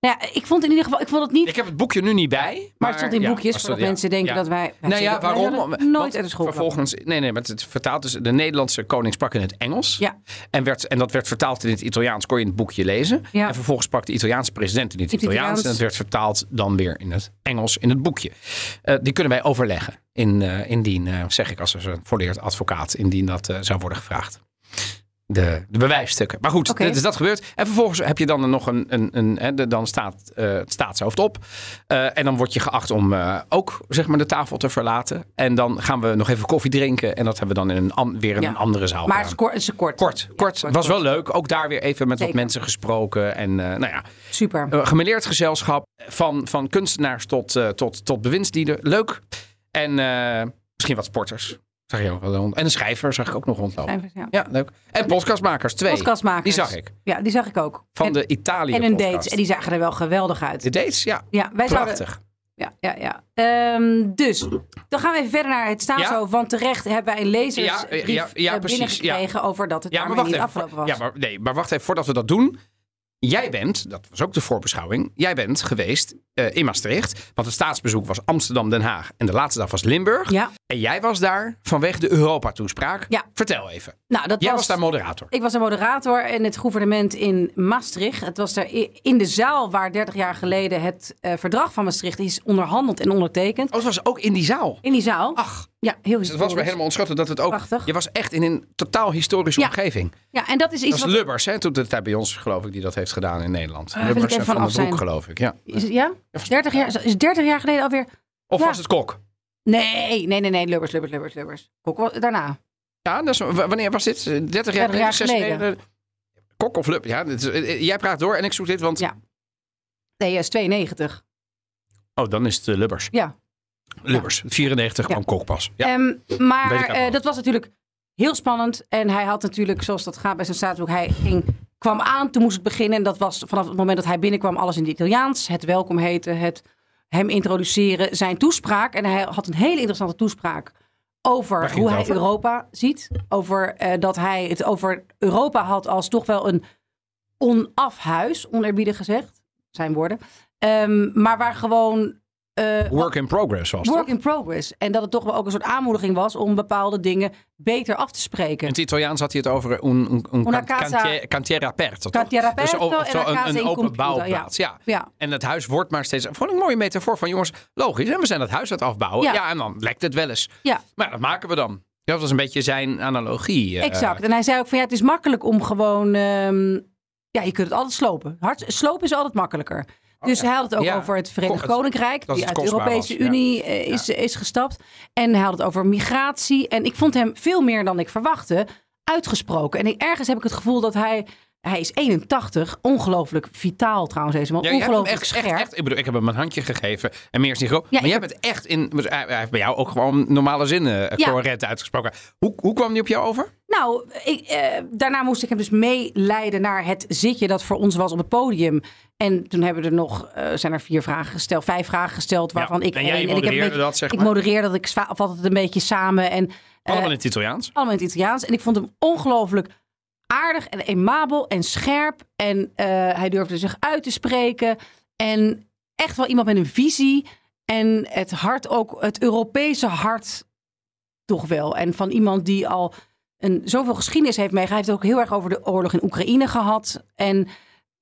S2: Nou ja, ik vond in ieder geval, ik vond het niet.
S1: Ik heb het boekje nu niet bij. Maar,
S2: maar het stond in
S1: ja,
S2: boekjes,
S1: het
S2: zodat
S1: stond- ja,
S2: mensen denken
S1: ja.
S2: dat wij. wij
S1: Nou ja,
S2: zouden- wij
S1: waarom?
S2: zouden Nooit
S1: Want
S2: uit de school. klappen.
S1: Vervolgens, nee, nee, maar het vertaalt dus. De Nederlandse koning sprak in het Engels.
S2: Ja.
S1: En, werd, en dat werd vertaald in het Italiaans, kon je in het boekje lezen.
S2: Ja.
S1: En vervolgens sprak de Italiaanse president in het
S2: In het
S1: Italiaans.
S2: Italiaans.
S1: En dat werd vertaald dan weer in het Engels in het boekje. Eh, die kunnen wij overleggen. In, eh, indien, eh, zeg ik als een volleerd advocaat, indien dat eh, zou worden gevraagd. De, de bewijsstukken. Maar goed,
S2: Oké.
S1: dus dat gebeurt. En vervolgens heb je dan nog een. een, een hè, de- dan staat eh, het staatshoofd op. Eh, en dan word je geacht om eh, ook zeg maar, de tafel te verlaten. En dan gaan we nog even koffie drinken. En dat hebben we dan in een an- weer in
S2: Ja.
S1: een andere zaal.
S2: Maar het
S1: gedaan.
S2: is kort. het is kort.
S1: Kort, kort.
S2: kort,
S1: was wel leuk. Ook daar weer even met
S2: Zeker.
S1: wat mensen gesproken. En eh, nou ja,
S2: Super.
S1: eh, gemêleerd gezelschap. Van, van kunstenaars tot, eh, tot, tot bewindslieden. Leuk. En eh, misschien wat sporters. Zag je ook wel rond. En een schrijver zag ik ook nog rondlopen.
S2: Schrijvers, ja.
S1: Ja, leuk. En podcastmakers, twee.
S2: Podcastmakers.
S1: Die zag ik.
S2: Ja, die zag ik ook.
S1: Van
S2: en,
S1: de Italië
S2: en hun
S1: podcast.
S2: dates. En die zagen er wel geweldig uit.
S1: De dates, ja.
S2: Ja, wij zouden,
S1: Prachtig.
S2: Ja, ja, ja. Ehm, dus, dan gaan we even verder naar het staatshoofd. Want terecht hebben wij een lezersbrief
S1: Ja, ja, ja,
S2: eh,
S1: precies,
S2: binnengekregen over dat het
S1: Ja, maar
S2: daarmee
S1: wacht
S2: niet
S1: even.
S2: afgelopen was.
S1: Ja, maar, nee, maar wacht even, voordat we dat doen. Jij bent, dat was ook de voorbeschouwing, jij bent geweest eh, in Maastricht. Want het staatsbezoek was Amsterdam-Den Haag en de laatste dag was Limburg.
S2: Ja.
S1: En jij was daar vanwege de Europa-toespraak.
S2: Ja.
S1: Vertel even.
S2: nou, dat
S1: Jij was,
S2: was
S1: daar moderator.
S2: Ik was een moderator in het gouvernement in Maastricht. Het was daar i- in de zaal waar 30 jaar geleden het eh, verdrag van Maastricht is onderhandeld en ondertekend.
S1: Oh, het was ook in die zaal.
S2: In die zaal.
S1: Ach,
S2: ja, heel
S1: dus het was me
S2: historisch.
S1: helemaal ontschoten dat het ook...
S2: Prachtig.
S1: Je was echt in een totaal historische
S2: Ja.
S1: omgeving.
S2: Ja, en dat is
S1: Dat
S2: iets
S1: is
S2: wat... Ah,
S1: Lubbers, hè, toen de tijd bij ons, geloof ik, die dat heeft gedaan in Nederland.
S2: wil ik
S1: Lubbers
S2: even
S1: en Van
S2: vanaf
S1: den Broek,
S2: zijn.
S1: geloof ik, ja.
S2: Is, het- ja? 30 jaar, is 30 jaar geleden alweer...
S1: Of
S2: Ja.
S1: was het Kok?
S2: Nee, nee, nee, nee. Lubbers, Lubbers, Lubbers, Lubbers. Kok was daarna.
S1: Ja, dat is, w- wanneer was dit? 30 jaar,
S2: 30 jaar
S1: 60 Kok of Lub? Ja, dit is- eh, eh, jij praat door en ik zoek dit, want...
S2: Ja. Nee, hij is 92.
S1: Oh, dan is het eh, Lubbers.
S2: Ja.
S1: Lubbers, 94 kwam kookpas. Ja.
S2: Ehm,
S1: weet ik
S2: maar
S1: ook
S2: eh,
S1: nog.
S2: dat was natuurlijk heel spannend. En hij had natuurlijk, zoals dat gaat bij zo'n staatsboek, hij ging, kwam aan, toen moest het beginnen. En dat was vanaf het moment dat hij binnenkwam alles in het Italiaans. Het welkom heten, het hem introduceren, zijn toespraak. En hij had een hele interessante toespraak
S1: Waar
S2: over
S1: ging
S2: hoe
S1: het
S2: hij
S1: over?
S2: Europa ziet. Over eh, dat hij het over Europa had als toch wel een onaf huis, onerbiedig gezegd. Zijn woorden. Ehm, maar waar gewoon... eh,
S1: Work in progress was het.
S2: Work in progress. En dat het toch wel ook een soort aanmoediging was om bepaalde dingen beter af te
S1: In
S2: spreken.
S1: het Italiaans had hij het over een, een, een
S2: Una
S1: can-
S2: casa-
S1: cantier- cantiera aperta. toch?
S2: Cantiera
S1: Dus
S2: aperta
S1: o-
S2: en
S1: oftewel
S2: una casa
S1: een, een
S2: in
S1: open
S2: computer, ja.
S1: bouwplaats. Ja.
S2: Ja.
S1: En het huis wordt maar steeds... Vond ik een mooie metafoor van jongens, logisch. En we zijn het huis aan het afbouwen. Ja.
S2: Ja.
S1: en dan lekt het wel eens.
S2: Ja,
S1: Maar dat maken we dan. Dat was een beetje zijn analogie. eh.
S2: exact. En hij zei ook van ja, het is makkelijk om gewoon... ehm, ja, je kunt het altijd slopen. Hard, slopen is altijd makkelijker. Dus hij had het ook
S1: Oh, Ja.
S2: over het Verenigd
S1: Ko- het-
S2: Koninkrijk,
S1: dat
S2: die
S1: het
S2: uit de
S1: kostbaar
S2: Europese
S1: was, ja.
S2: Unie eh, is, is gestapt. En hij had het over migratie. En ik vond hem veel meer dan ik verwachtte uitgesproken. En ik- ergens heb ik het gevoel dat hij... Hij is 81, ongelooflijk vitaal trouwens deze man.
S1: Ja, jij hebt hem
S2: ongelooflijk
S1: echt,
S2: scherp.
S1: echt, echt, ik bedoel, ik heb hem een handje gegeven en meer is niet groot.
S2: Ja,
S1: maar jij
S2: ik
S1: bent echt in, dus hij hij heeft bij jou ook gewoon normale zinnen eh,
S2: Ja.
S1: correct uitgesproken. Hoe, hoe kwam die op jou over?
S2: Nou, ik, eh, daarna moest ik hem dus meeleiden naar het zitje dat voor ons was op het podium. En toen hebben er nog, eh, zijn er vier vragen gesteld, vijf vragen gesteld, waarvan
S1: Ja,
S2: ik
S1: en jij
S2: één. ik
S1: modereerde
S2: een beetje-
S1: dat, zeg
S2: ik
S1: maar?
S2: modereer dat, ik zwa- vat het een beetje samen en eh,
S1: Allemaal in het Italiaans.
S2: allemaal in het Italiaans. En ik vond hem ongelooflijk aardig en emabel en scherp. En eh, hij durfde zich uit te spreken. En echt wel iemand met een visie. En het hart ook, het Europese hart toch wel. En van iemand die al een, zoveel geschiedenis heeft meegemaakt. Hij heeft het ook heel erg over de oorlog in Oekraïne gehad. En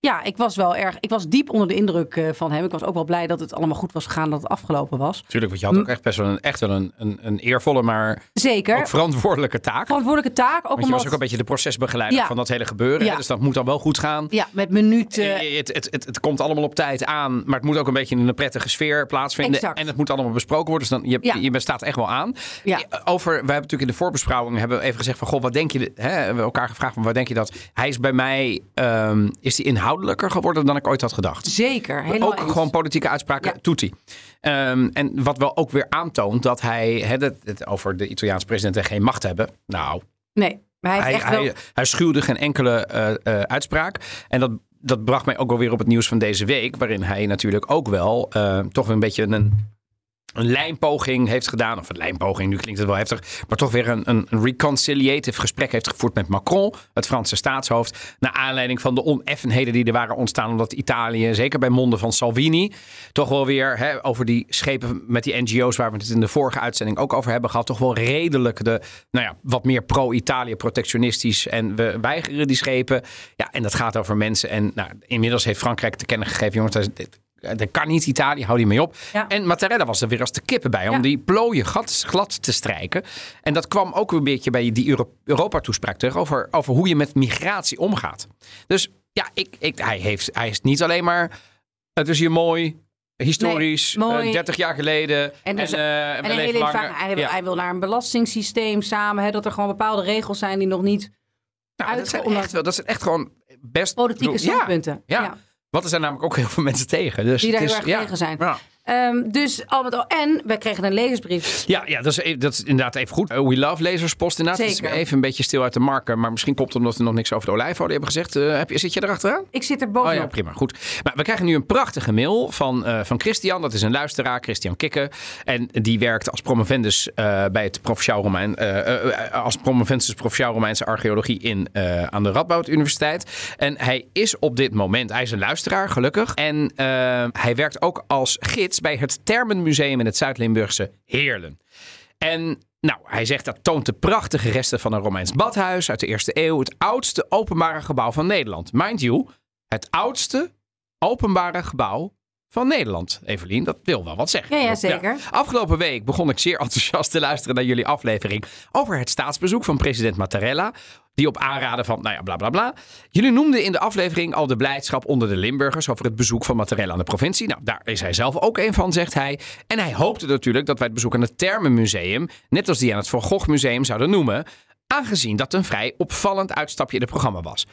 S2: ja, ik was wel erg, ik was diep onder de indruk eh, van hem. Ik was ook wel blij dat het allemaal goed was gegaan, dat het afgelopen was.
S1: Tuurlijk, want je had
S2: hm.
S1: ook echt best wel een, echt wel een, een, een eervolle, maar ook
S2: Zeker.
S1: verantwoordelijke taak.
S2: Verantwoordelijke taak. Ook
S1: Want je
S2: omdat,
S1: was ook een beetje de procesbegeleider
S2: Ja.
S1: van dat hele gebeuren.
S2: Ja.
S1: hè, Dus dat moet dan wel goed gaan.
S2: Ja, met minuten.
S1: Eh, Het, het, het, het komt allemaal op tijd aan, maar het moet ook een beetje in een prettige sfeer plaatsvinden.
S2: Exact.
S1: En het moet allemaal besproken worden. Dus dan, je,
S2: Ja.
S1: je bent- staat echt wel aan.
S2: Ja.
S1: Eh, Over, we hebben natuurlijk in de voorbeschouwing hebben we even gezegd van, goh, wat denk je, hè, hebben we elkaar gevraagd van, wat denk je dat? Hij is bij mij, ehm, is hij inhoudelijker geworden dan ik ooit had gedacht.
S2: Zeker. helemaal
S1: ook
S2: eens.
S1: gewoon politieke uitspraken,
S2: Ja.
S1: doet hij. Ehm, en wat wel ook weer aantoont dat hij, hè, dat, het over de Italiaanse president en geen macht hebben. Nou,
S2: Nee, maar hij eh,
S1: hij,
S2: heeft echt wel...
S1: hij, hij schuwde geen enkele eh, eh, uitspraak. En dat, dat bracht mij ook alweer op het nieuws van deze week. Waarin hij natuurlijk ook wel eh, toch weer een beetje een, een lijnpoging heeft gedaan. Of een lijnpoging, nu klinkt het wel heftig. Maar toch weer een, een een reconciliative gesprek heeft gevoerd met Macron. Het Franse staatshoofd. Naar aanleiding van de oneffenheden die er waren ontstaan. Omdat Italië, zeker bij monden van Salvini. Toch wel weer hè, over die schepen met die NGO's. Waar we het in de vorige uitzending ook over hebben gehad. Toch wel redelijk de, nou ja, wat meer pro-Italië protectionistisch. En we weigeren die schepen. Ja, en dat gaat over mensen. En nou, inmiddels heeft Frankrijk te kennen gegeven. Jongens, dat is- dit- dat kan niet, Italië, hou die mee op.
S2: Ja.
S1: En Mattarella was er weer als de kippen bij om
S2: Ja.
S1: die plooien glad, glad te strijken. En dat kwam ook weer een beetje bij die Euro- Europa-toespraak terug over, over hoe je met migratie omgaat. Dus ja, ik, ik, hij, heeft, hij is niet alleen maar. Het is hier mooi, historisch,
S2: Nee, mooi.
S1: eh, 30 jaar geleden. En,
S2: En dus-
S1: eh, we
S2: En een
S1: leven
S2: hele
S1: langer.
S2: ervaring. Hij, wil-
S1: Ja.
S2: hij wil naar een belastingssysteem samen. Hè, dat er gewoon bepaalde regels zijn die nog niet...
S1: Nou, dat, zijn
S2: uitgeoorloofd-
S1: echt, wel- dat zijn echt gewoon best.
S2: Politieke
S1: bedoel, ja,
S2: standpunten.
S1: Ja,
S2: Ja.
S1: Want er zijn namelijk ook heel veel mensen tegen. Dus
S2: Die daar
S1: het
S2: heel
S1: is-
S2: erg
S1: ja.
S2: tegen zijn.
S1: Ja.
S2: Ehm, dus al met al... En wij kregen een lezersbrief.
S1: Ja, ja dat, is, e-, dat is inderdaad even goed. Uh, We love laserspost inderdaad. Het
S2: Zeker.
S1: is even een beetje stil uit de markt. Maar misschien komt het omdat we nog niks over de olijfolie hebben gezegd. Eh, heb je, zit je erachteraan?
S2: Ik zit er
S1: Oh
S2: bovenop.
S1: ja, prima. Goed. Maar we krijgen nu een prachtige mail van, eh, van Christian. Dat is een luisteraar, Christian Kikke. En die werkt als promovendus eh, bij het Provinciaal Romein... eh, eh, als promovendus Provinciaal Romeinse Archeologie in, eh, aan de Radboud Universiteit. En hij is op dit moment... Hij is een luisteraar, gelukkig. En eh, hij werkt ook als gids bij het Termenmuseum in het Zuid-Limburgse Heerlen. En nou, hij zegt dat toont de prachtige resten van een Romeins badhuis uit de eerste eeuw. Het oudste openbare gebouw van Nederland. Mind you, het oudste openbare gebouw van Nederland. Evelien, dat wil wel wat zeggen.
S2: Ja, ja, zeker.
S1: Afgelopen week begon ik zeer enthousiast te luisteren naar jullie aflevering over het staatsbezoek van president Mattarella. Die op aanraden van, nou ja, bla bla bla. Jullie noemden in de aflevering al de blijdschap onder de Limburgers over het bezoek van Mattarella aan de provincie. Nou, daar is hij zelf ook een van, zegt hij. En hij hoopte natuurlijk dat wij het bezoek aan het Termenmuseum, net als die aan het Van Gogh Museum, zouden noemen. Aangezien dat een vrij opvallend uitstapje in het programma was.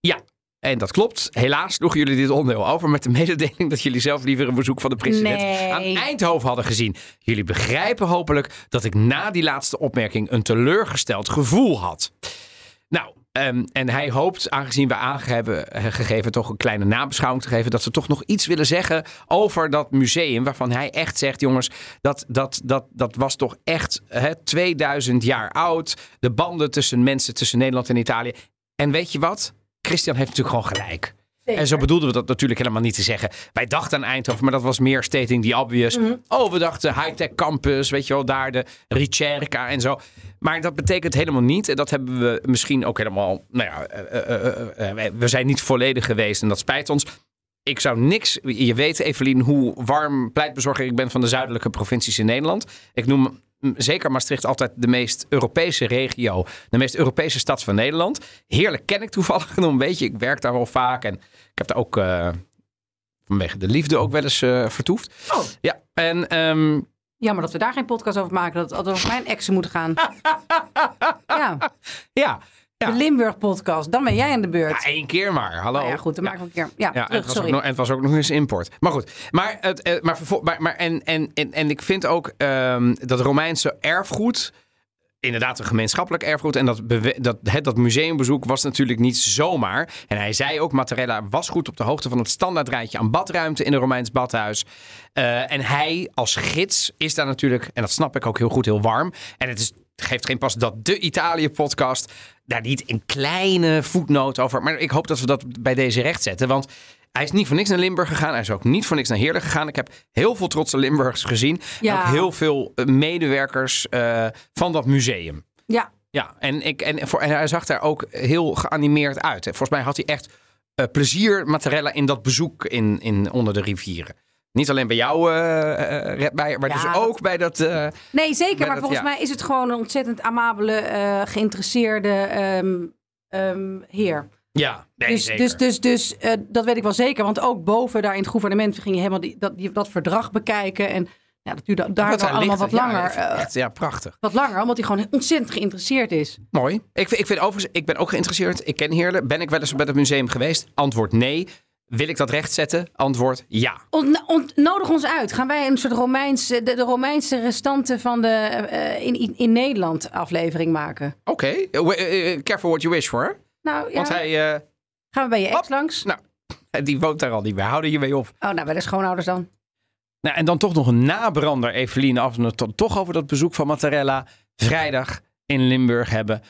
S1: Ja, En dat klopt. Helaas sloegen jullie dit onderdeel over met de mededeling dat jullie zelf liever een bezoek van de president
S2: Nee.
S1: aan Eindhoven hadden gezien. Jullie begrijpen hopelijk dat ik na die laatste opmerking een teleurgesteld gevoel had. Nou, ehm, en hij hoopt, aangezien we aangegeven eh, gegeven toch een kleine nabeschouwing te geven, dat ze toch nog iets willen zeggen over dat museum. Waarvan hij echt zegt, jongens, dat, dat, dat, dat was toch echt hè, 2000 jaar oud. De banden tussen mensen, tussen Nederland en Italië. En weet je wat? Christian heeft natuurlijk gewoon gelijk. En zo bedoelden we dat natuurlijk helemaal niet te zeggen. Wij dachten aan Eindhoven, maar dat was meer stating die obvious. Oh, we dachten high-tech campus, weet je wel, daar de Ricerca en zo. Maar dat betekent helemaal niet, en dat hebben we misschien ook helemaal... Nou ja, eh, eh, eh, eh, wij- we zijn niet volledig geweest en dat spijt ons. Ik zou niks... Je weet, Evelien, hoe warm pleitbezorger ik ben van de zuidelijke provincies in Nederland. Ik noem mm, zeker Maastricht altijd de meest Europese regio. De meest Europese stad van Nederland. Heerlijk ken ik toevallig nog een beetje. Ik werk daar wel vaak en ik heb daar ook eh, vanwege de liefde ook wel eens eh, vertoefd.
S2: Oh.
S1: Ja, en ehm,
S2: Jammer dat we daar geen podcast over maken. Dat het altijd over mijn exen moet gaan. ja,
S1: ja,
S2: de
S1: ja.
S2: Limburg-podcast. Dan ben jij aan de
S1: ja,
S2: beurt.
S1: één keer maar. Hallo.
S2: nou ja, goed, dan
S1: Ja.
S2: maken we een keer. Ja,
S1: Ja, en
S2: terug,
S1: het, was ook
S2: sorry.
S1: nog, en het was ook nog eens import. Maar goed, maar, het, eh, maar, vervol- maar, maar en, en, en, en ik vind ook ehm, dat Romeinse erfgoed, inderdaad een gemeenschappelijk erfgoed, en dat, bewe- dat, het, dat museumbezoek was natuurlijk niet zomaar. En hij zei ook, Mattarella was goed op de hoogte van het standaardrijtje aan badruimte in een Romeins badhuis. Eh, en hij als gids is daar natuurlijk, en dat snap ik ook heel goed, heel warm. En het is, geeft geen pas dat de Italië-podcast daar niet een kleine voetnoot over. Maar ik hoop dat we dat bij deze recht zetten. Want hij is niet voor niks naar Limburg gegaan. Hij is ook niet voor niks naar Heerlen gegaan. Ik heb heel veel trotse Limburgers gezien. En
S2: Ja.
S1: ook heel veel eh, medewerkers eh, van dat museum.
S2: Ja,
S1: Ja, en, ik, en, voor, en hij zag daar ook heel geanimeerd uit. hè. Volgens mij had hij echt eh, plezier, Mattarella, in dat bezoek in, in, onder de rivieren. Niet alleen bij jou, eh, eh, Red Meijer, maar
S2: Ja,
S1: dus
S2: dat-
S1: ook bij dat... eh,
S2: nee, zeker.
S1: Maar
S2: Maar,
S1: dat-
S2: volgens
S1: ja.
S2: mij is het gewoon een ontzettend amabele, eh, geïnteresseerde ehm, ehm, heer.
S1: ja, nee,
S2: dus,
S1: zeker.
S2: dus, dus, dus eh, dat weet ik wel zeker. Want ook boven daar in het gouvernement ging je helemaal die, dat, die, dat verdrag bekijken. En ja, dat duurde daar
S1: Wat
S2: dan
S1: daar
S2: allemaal wat
S1: ligt, ja,
S2: langer. eh,
S1: echt, ja, prachtig.
S2: wat langer, omdat hij gewoon ontzettend geïnteresseerd is.
S1: Mooi. Ik, vind- ik, vind overigens, ik ben ook geïnteresseerd. Ik ken Heerlen. Ben ik wel eens bij het museum geweest? Antwoord nee. Wil ik dat rechtzetten? Antwoord ja.
S2: Ont, ont- nodig ons uit. Gaan wij een soort Romeinse, de, de Romeinse restanten van de eh, in, in, in Nederland aflevering maken?
S1: Oké. Eh, we- eh, eh, Careful what you wish for. hè?
S2: Nou ja,
S1: Want hij, eh,
S2: gaan we bij je ex
S1: Hop.
S2: langs?
S1: nou, die woont daar al niet meer. Houden je mee op.
S2: Oh, nou, bij de schoonouders dan.
S1: Nou, en dan toch nog een nabrander, Evelien, af en toe to- toch over dat bezoek van Mattarella. Vrijdag in Limburg hebben.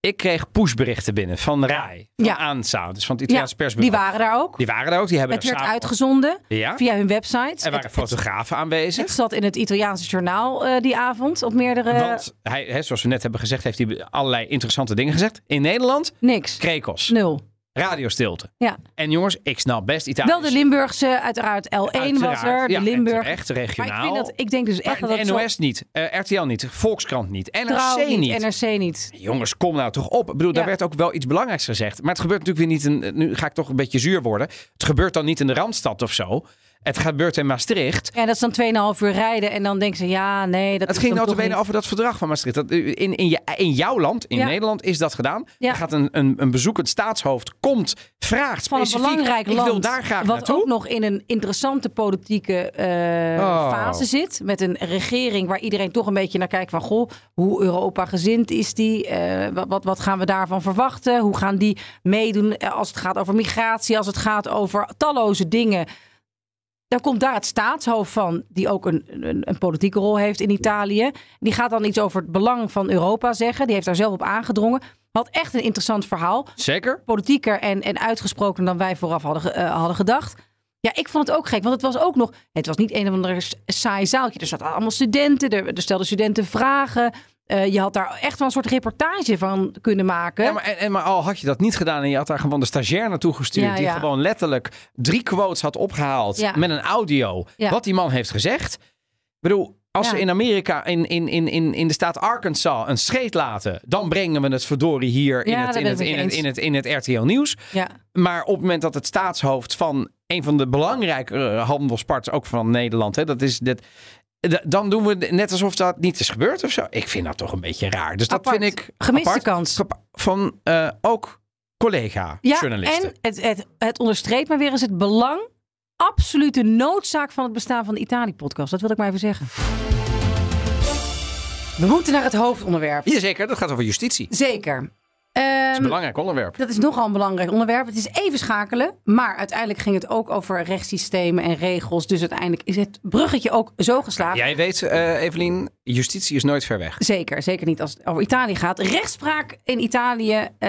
S1: Ik kreeg pushberichten binnen van RAI, van
S2: Ja.
S1: ANSA, dus van het
S2: Ja,
S1: Italiaans persbureau.
S2: die waren daar ook.
S1: Die waren er ook, die hebben
S2: Het
S1: er
S2: werd
S1: samen-
S2: uitgezonden
S1: Ja,
S2: via hun website.
S1: er waren
S2: Het- het,
S1: fotografen aanwezig.
S2: het eh, zat in het Italiaanse journaal eh, die avond op meerdere...
S1: Want hij, hè, zoals we net hebben gezegd, heeft hij allerlei interessante dingen gezegd. In Nederland,
S2: niks.
S1: krekels,
S2: Nul.
S1: radiostilte.
S2: Ja.
S1: En jongens, ik snap best Italië.
S2: Wel de Limburgse, uiteraard. L1 was er, de Limburg.
S1: Echt
S2: Maar
S1: regionaal.
S2: ik, vind dat, ik denk dus echt
S1: Maar
S2: dat dat
S1: de
S2: zo-
S1: NOS niet, eh, RTL niet, Volkskrant niet, NRC
S2: Trouw
S1: niet.
S2: NRC niet.
S1: Jongens, kom nou toch op. Ik bedoel, daar
S2: Ja.
S1: werd ook wel iets belangrijks gezegd. Maar het gebeurt natuurlijk weer niet. In, nu ga ik toch een beetje zuur worden. Het gebeurt dan niet in de Randstad of zo. Het gebeurt in Maastricht.
S2: Ja, dat is dan 2,5 uur rijden en dan denken ze, ja, nee, dat
S1: Het
S2: is
S1: ging
S2: dan
S1: nou
S2: toch
S1: te benen
S2: niet.
S1: over dat verdrag van Maastricht. Dat, eh, in, in, je, in jouw land, in
S2: Ja.
S1: Nederland, is dat gedaan.
S2: Ja.
S1: Er gaat een, een, een bezoekend staatshoofd, komt, vraagt
S2: Van een
S1: specifiek,
S2: belangrijk
S1: ik
S2: land,
S1: wil daar graag
S2: wat
S1: naartoe.
S2: ook nog in een interessante politieke eh,
S1: Oh.
S2: fase zit. Met een regering waar iedereen toch een beetje naar kijkt van, goh, hoe Europa gezind is die? Eh, wat, wat, wat gaan we daarvan verwachten? Hoe gaan die meedoen eh, als het gaat over migratie, als het gaat over talloze dingen? Dan komt daar het staatshoofd van, die ook een, een, een politieke rol heeft in Italië. Die gaat dan iets over het belang van Europa zeggen. Die heeft daar zelf op aangedrongen. Had echt een interessant verhaal.
S1: Zeker?
S2: Politieker en, en uitgesprokener dan wij vooraf hadden, ge- eh, hadden gedacht. Ja, ik vond het ook gek, want het was ook nog... Het was niet een of ander s- saai zaaltje. Er zaten allemaal studenten, er, er stelden studenten vragen. Eh, je had daar echt wel een soort reportage van kunnen maken.
S1: Ja, maar, en, en, maar al had je dat niet gedaan en je had daar gewoon de stagiair naartoe gestuurd...
S2: Ja,
S1: die
S2: ja.
S1: gewoon letterlijk drie quotes had opgehaald
S2: Ja.
S1: met een audio...
S2: Ja.
S1: wat die man heeft gezegd. Ik bedoel, als
S2: Ja.
S1: ze in Amerika, in, in, in, in, in de staat Arkansas, een scheet laten... dan brengen we het verdorie hier in
S2: Ja,
S1: het-
S2: daar
S1: in
S2: ben
S1: het-
S2: ik met
S1: in
S2: je
S1: het-
S2: eens.
S1: in het- in het RTL Nieuws.
S2: ja.
S1: Maar op het moment dat het staatshoofd van een van de belangrijkere handelspartners, ook van Nederland, hè, dat is dit, d- dan doen we net alsof dat niet is gebeurd of zo. Ik vind dat toch een beetje raar. Dus dat
S2: Apart.
S1: vind ik.
S2: Gemiste
S1: apart.
S2: kans.
S1: Gepa- Van eh, ook
S2: Ja,
S1: collega-journalisten.
S2: en het, het, het onderstreept maar weer eens het belang, absolute noodzaak van het bestaan van de Italië-podcast. Dat wil ik maar even zeggen. We moeten naar het hoofdonderwerp.
S1: Jazeker, dat gaat over justitie. Dat
S2: Zeker.
S1: is
S2: Ehm,
S1: een belangrijk onderwerp.
S2: dat is nogal een belangrijk onderwerp. Het is even schakelen, maar uiteindelijk ging het ook over rechtssystemen en regels. Dus uiteindelijk is het bruggetje ook zo geslaagd.
S1: Jij weet, eh, Evelien, justitie is nooit ver weg.
S2: Zeker, zeker niet als het over Italië gaat. Rechtspraak in Italië eh,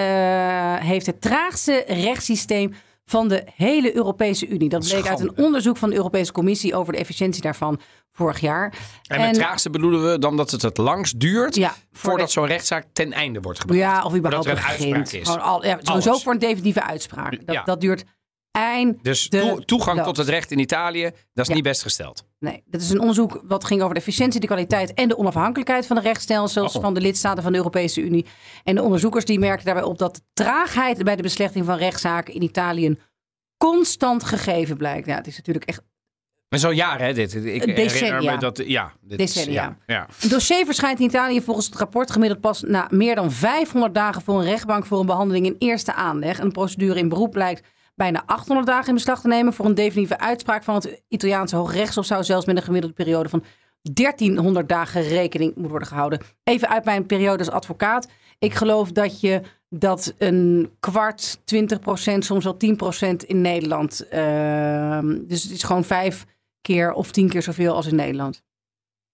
S2: heeft het traagste rechtssysteem van de hele Europese Unie. Dat bleek uit
S1: Schande.
S2: een onderzoek van de Europese Commissie over de efficiëntie daarvan vorig jaar.
S1: En, met traagste bedoelen we dan dat het het langst duurt
S2: Ja,
S1: voordat
S2: voor
S1: zo'n rechtszaak ten einde wordt gebracht.
S2: ja, of überhaupt
S1: er een
S2: begint.
S1: uitspraak is.
S2: Gewoon al, ja, sowieso
S1: Alles.
S2: voor een definitieve uitspraak. Dat,
S1: Ja.
S2: dat duurt eind.
S1: Dus
S2: de
S1: toe- toegang
S2: loop.
S1: tot het recht in Italië, dat is niet best gesteld.
S2: Nee, dat is een onderzoek wat ging over de efficiëntie, de kwaliteit en de onafhankelijkheid van de rechtsstelsels
S1: Oh.
S2: van de lidstaten van de Europese Unie. En de onderzoekers die merkten daarbij op dat de traagheid bij de beslechting van rechtszaken in Italië een constant gegeven blijkt. Ja, het is natuurlijk echt.
S1: Maar zo'n jaar, hè, dit. Ik herinner
S2: Eh, Decennia.
S1: me dat... Ja, dit
S2: Decennia.
S1: Is, ja, ja.
S2: Een dossier verschijnt in Italië volgens het rapport gemiddeld pas na meer dan 500 dagen voor een rechtbank voor een behandeling in eerste aanleg. Een procedure in beroep blijkt bijna 800 dagen in beslag te nemen. Voor een definitieve uitspraak van het Italiaanse Hoogrechtshof zou zelfs met een gemiddelde periode van 1300 dagen rekening moeten worden gehouden. Even uit mijn periode als advocaat. Ik geloof dat je dat een kwart, 20 procent, soms wel 10 procent in Nederland. ehm, dus het is gewoon vijf keer of tien keer zoveel als in Nederland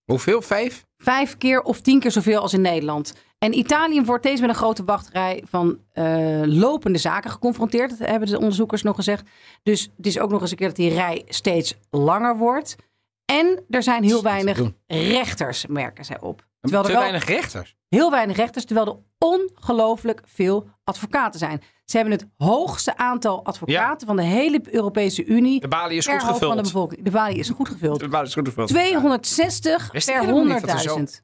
S1: Hoeveel? Vijf?
S2: vijf keer of tien keer zoveel als in Nederland. En Italië wordt deze met een grote wachtrij van eh, lopende zaken geconfronteerd. Dat hebben de onderzoekers nog gezegd. Dus het is ook nog eens een keer dat die rij steeds langer wordt. En er zijn heel weinig
S1: doen.
S2: rechters, merken zij op.
S1: Te
S2: Terwijl er wel
S1: weinig rechters.
S2: heel weinig rechters, terwijl er ongelooflijk veel advocaten zijn. Ze hebben het hoogste aantal advocaten van de hele Europese Unie.
S1: De balie is
S2: per
S1: goed
S2: hoofd van de
S1: gevuld.
S2: bevolking. De balie is goed gevuld.
S1: De balie is goed gevuld.
S2: 260
S1: Wist ik helemaal niet dat er zo-
S2: per 100.000.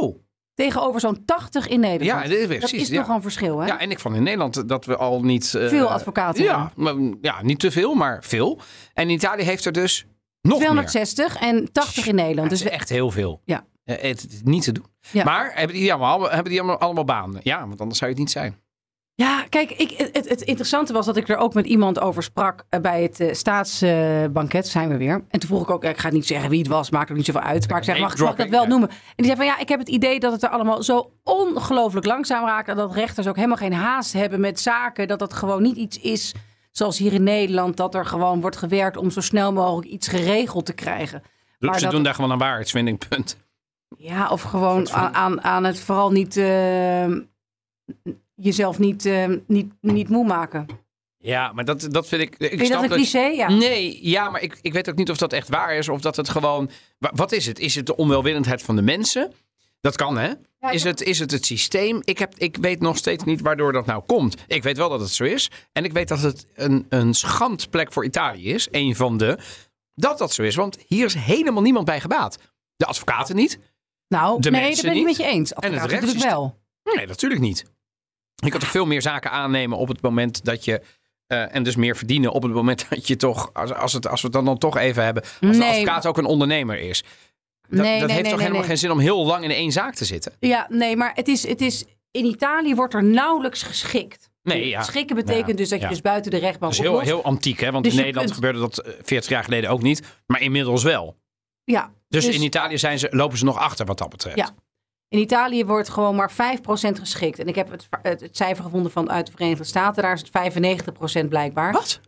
S1: Oh,
S2: Tegenover zo'n 80 in Nederland.
S1: ja, dit is
S2: dat
S1: precies.
S2: is
S1: ja.
S2: nogal een verschil, hè?
S1: Ja, en ik vond in Nederland dat we al niet... eh,
S2: Veel advocaten
S1: Ja, maar, ja, niet te veel, maar veel. En Italië heeft er dus nog meer.
S2: 260 en 80 in Nederland.
S1: Dat
S2: Dus
S1: is echt heel veel.
S2: Ja.
S1: Eh, het, het is niet te doen.
S2: Ja.
S1: Maar hebben die, allemaal, hebben die allemaal, allemaal banen? Ja, want anders zou je het niet zijn.
S2: ja, kijk, ik, het, het interessante was dat ik er ook met iemand over sprak eh, bij het staatsbanket, zijn we weer. En toen vroeg ik ook, eh, ik ga niet zeggen wie het was, maakt ook niet zoveel uit. Maar ik zeg,
S1: name
S2: mag, mag ik dat
S1: dropping,
S2: wel
S1: ja.
S2: noemen? En die zei van, ja, ik heb het idee dat het er allemaal zo ongelooflijk langzaam raakt. En dat rechters ook helemaal geen haast hebben met zaken. Dat dat gewoon niet iets is, zoals hier in Nederland, dat er gewoon wordt gewerkt om zo snel mogelijk iets geregeld te krijgen. Maar
S1: Ze
S2: dat-
S1: doen daar gewoon een waarheidsvinding, punt.
S2: Ja, of gewoon aan, aan, aan het vooral niet eh, jezelf niet, eh, niet, niet moe maken.
S1: Ja, maar dat, dat Mm. vind ik... ik
S2: Vind je dat
S1: snap
S2: een cliché? Ja.
S1: Nee, ja, maar ik, ik weet ook niet of dat echt waar is. Of dat het gewoon... wa- Wat is het? Is het de onwelwillendheid van de mensen? Dat kan, hè? Is het, is het het systeem? Ik, heb, ik weet nog steeds niet waardoor dat nou komt. Ik weet wel dat het zo is. En ik weet dat het een, een schandplek voor Italië is. Een van de... Dat dat zo is. Want hier is helemaal niemand bij gebaat. De advocaten niet.
S2: Nou,
S1: de
S2: nee, dat
S1: mensen
S2: ben ik niet met
S1: niet.
S2: je eens.
S1: het
S2: Advocaat natuurlijk
S1: rechtssysteem.
S2: wel.
S1: Nee, natuurlijk niet. Je kunt toch veel meer zaken aannemen op het moment dat je... eh, en dus meer verdienen op het moment dat je toch... Als, als, het, als we het dan, dan toch even hebben... Als de
S2: Nee.
S1: advocaat ook een ondernemer is. Dat,
S2: nee,
S1: dat
S2: nee,
S1: heeft
S2: nee,
S1: toch
S2: nee,
S1: helemaal
S2: nee.
S1: geen zin om heel lang in één zaak te zitten?
S2: Ja, nee, maar het is, het is, in Italië wordt er nauwelijks geschikt.
S1: Nee, ja. Nou
S2: Schikken betekent
S1: Ja,
S2: dus dat
S1: ja.
S2: je dus buiten de rechtbank
S1: Dat is heel,
S2: oplost.
S1: heel antiek, hè? Want
S2: Dus
S1: in
S2: je
S1: Nederland
S2: kunt-
S1: gebeurde dat eh, 40 jaar geleden ook niet. Maar inmiddels wel.
S2: Ja,
S1: Dus,
S2: Dus-
S1: in Italië zijn ze, lopen ze nog achter wat dat betreft.
S2: Ja. In Italië wordt gewoon maar 5% geschikt. En ik heb het, het, het cijfer gevonden van uit de Verenigde Staten. Daar is het 95% blijkbaar.
S1: Wat?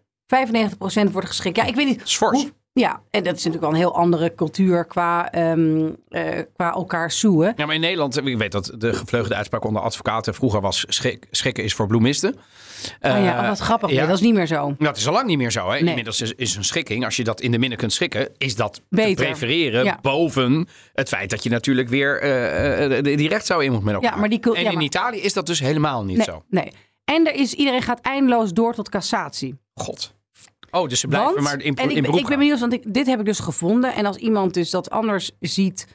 S2: 95% wordt geschikt. Ja, ik weet niet.
S1: Dat is fors.
S2: Hoe- Ja, en dat is natuurlijk wel een heel andere cultuur qua, ehm, eh, qua elkaar zoeën.
S1: Ja, maar in Nederland, eh, ik weet dat de gevleugelde uitspraak onder advocaten vroeger was: schrik- schrikken is voor bloemisten.
S2: oh ja,
S1: Eh,
S2: oh, wat grappig.
S1: ja.
S2: Nee, dat is niet meer zo.
S1: Nou, dat is al lang niet meer zo. Hè?
S2: Nee.
S1: Inmiddels is, is een schikking, als je dat in de midden kunt schikken, is dat te
S2: Beter.
S1: prefereren
S2: Ja.
S1: boven het feit dat je natuurlijk weer eh, eh, die recht zou in moet met elkaar.
S2: maar die cul-
S1: en
S2: ja,
S1: in
S2: maar-
S1: Italië is dat dus helemaal niet
S2: Nee,
S1: zo.
S2: nee. En er is, iedereen gaat eindeloos door tot cassatie.
S1: God. Oh, dus ze blijven
S2: Want-
S1: maar in,
S2: en ik,
S1: in
S2: ben-
S1: beroep
S2: ik ben
S1: gaan.
S2: benieuwd, want ik, dit heb ik dus gevonden. En als iemand dus dat anders ziet,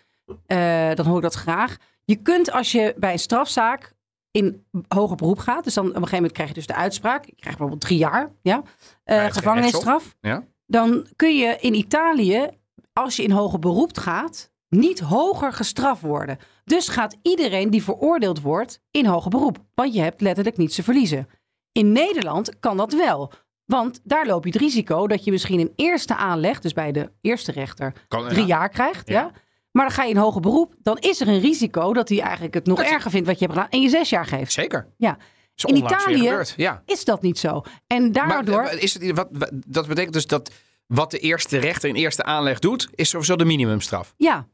S2: eh, dan hoor ik dat graag. Je kunt als je bij een strafzaak in hoger beroep gaat, dus dan op een gegeven moment krijg je dus de uitspraak. Ik krijg bijvoorbeeld drie jaar ja, eh,
S1: het is geen
S2: gevangenisstraf.
S1: Ja.
S2: Dan kun je in Italië, als je in hoger beroep gaat, niet hoger gestraft worden. Dus gaat iedereen die veroordeeld wordt in hoger beroep. Want je hebt letterlijk niets te verliezen. In Nederland kan dat wel. Want daar loop je het risico dat je misschien een eerste aanleg, dus bij de eerste rechter,
S1: Kan-
S2: drie
S1: ja.
S2: jaar krijgt. Ja.
S1: Ja.
S2: Maar dan ga je in hoger beroep. Dan is er een risico dat hij eigenlijk het nog
S1: Dat-
S2: erger vindt wat je hebt gedaan. En je zes jaar geeft.
S1: Zeker.
S2: Ja.
S1: Is
S2: In
S1: onlangs weer
S2: Italië-
S1: gebeurd, Ja.
S2: Is dat niet zo?
S1: Maar
S2: En daardoor.
S1: eh, is het, wat, wat- dat betekent dus dat wat de eerste rechter in eerste aanleg doet, is sowieso de minimumstraf.
S2: ja,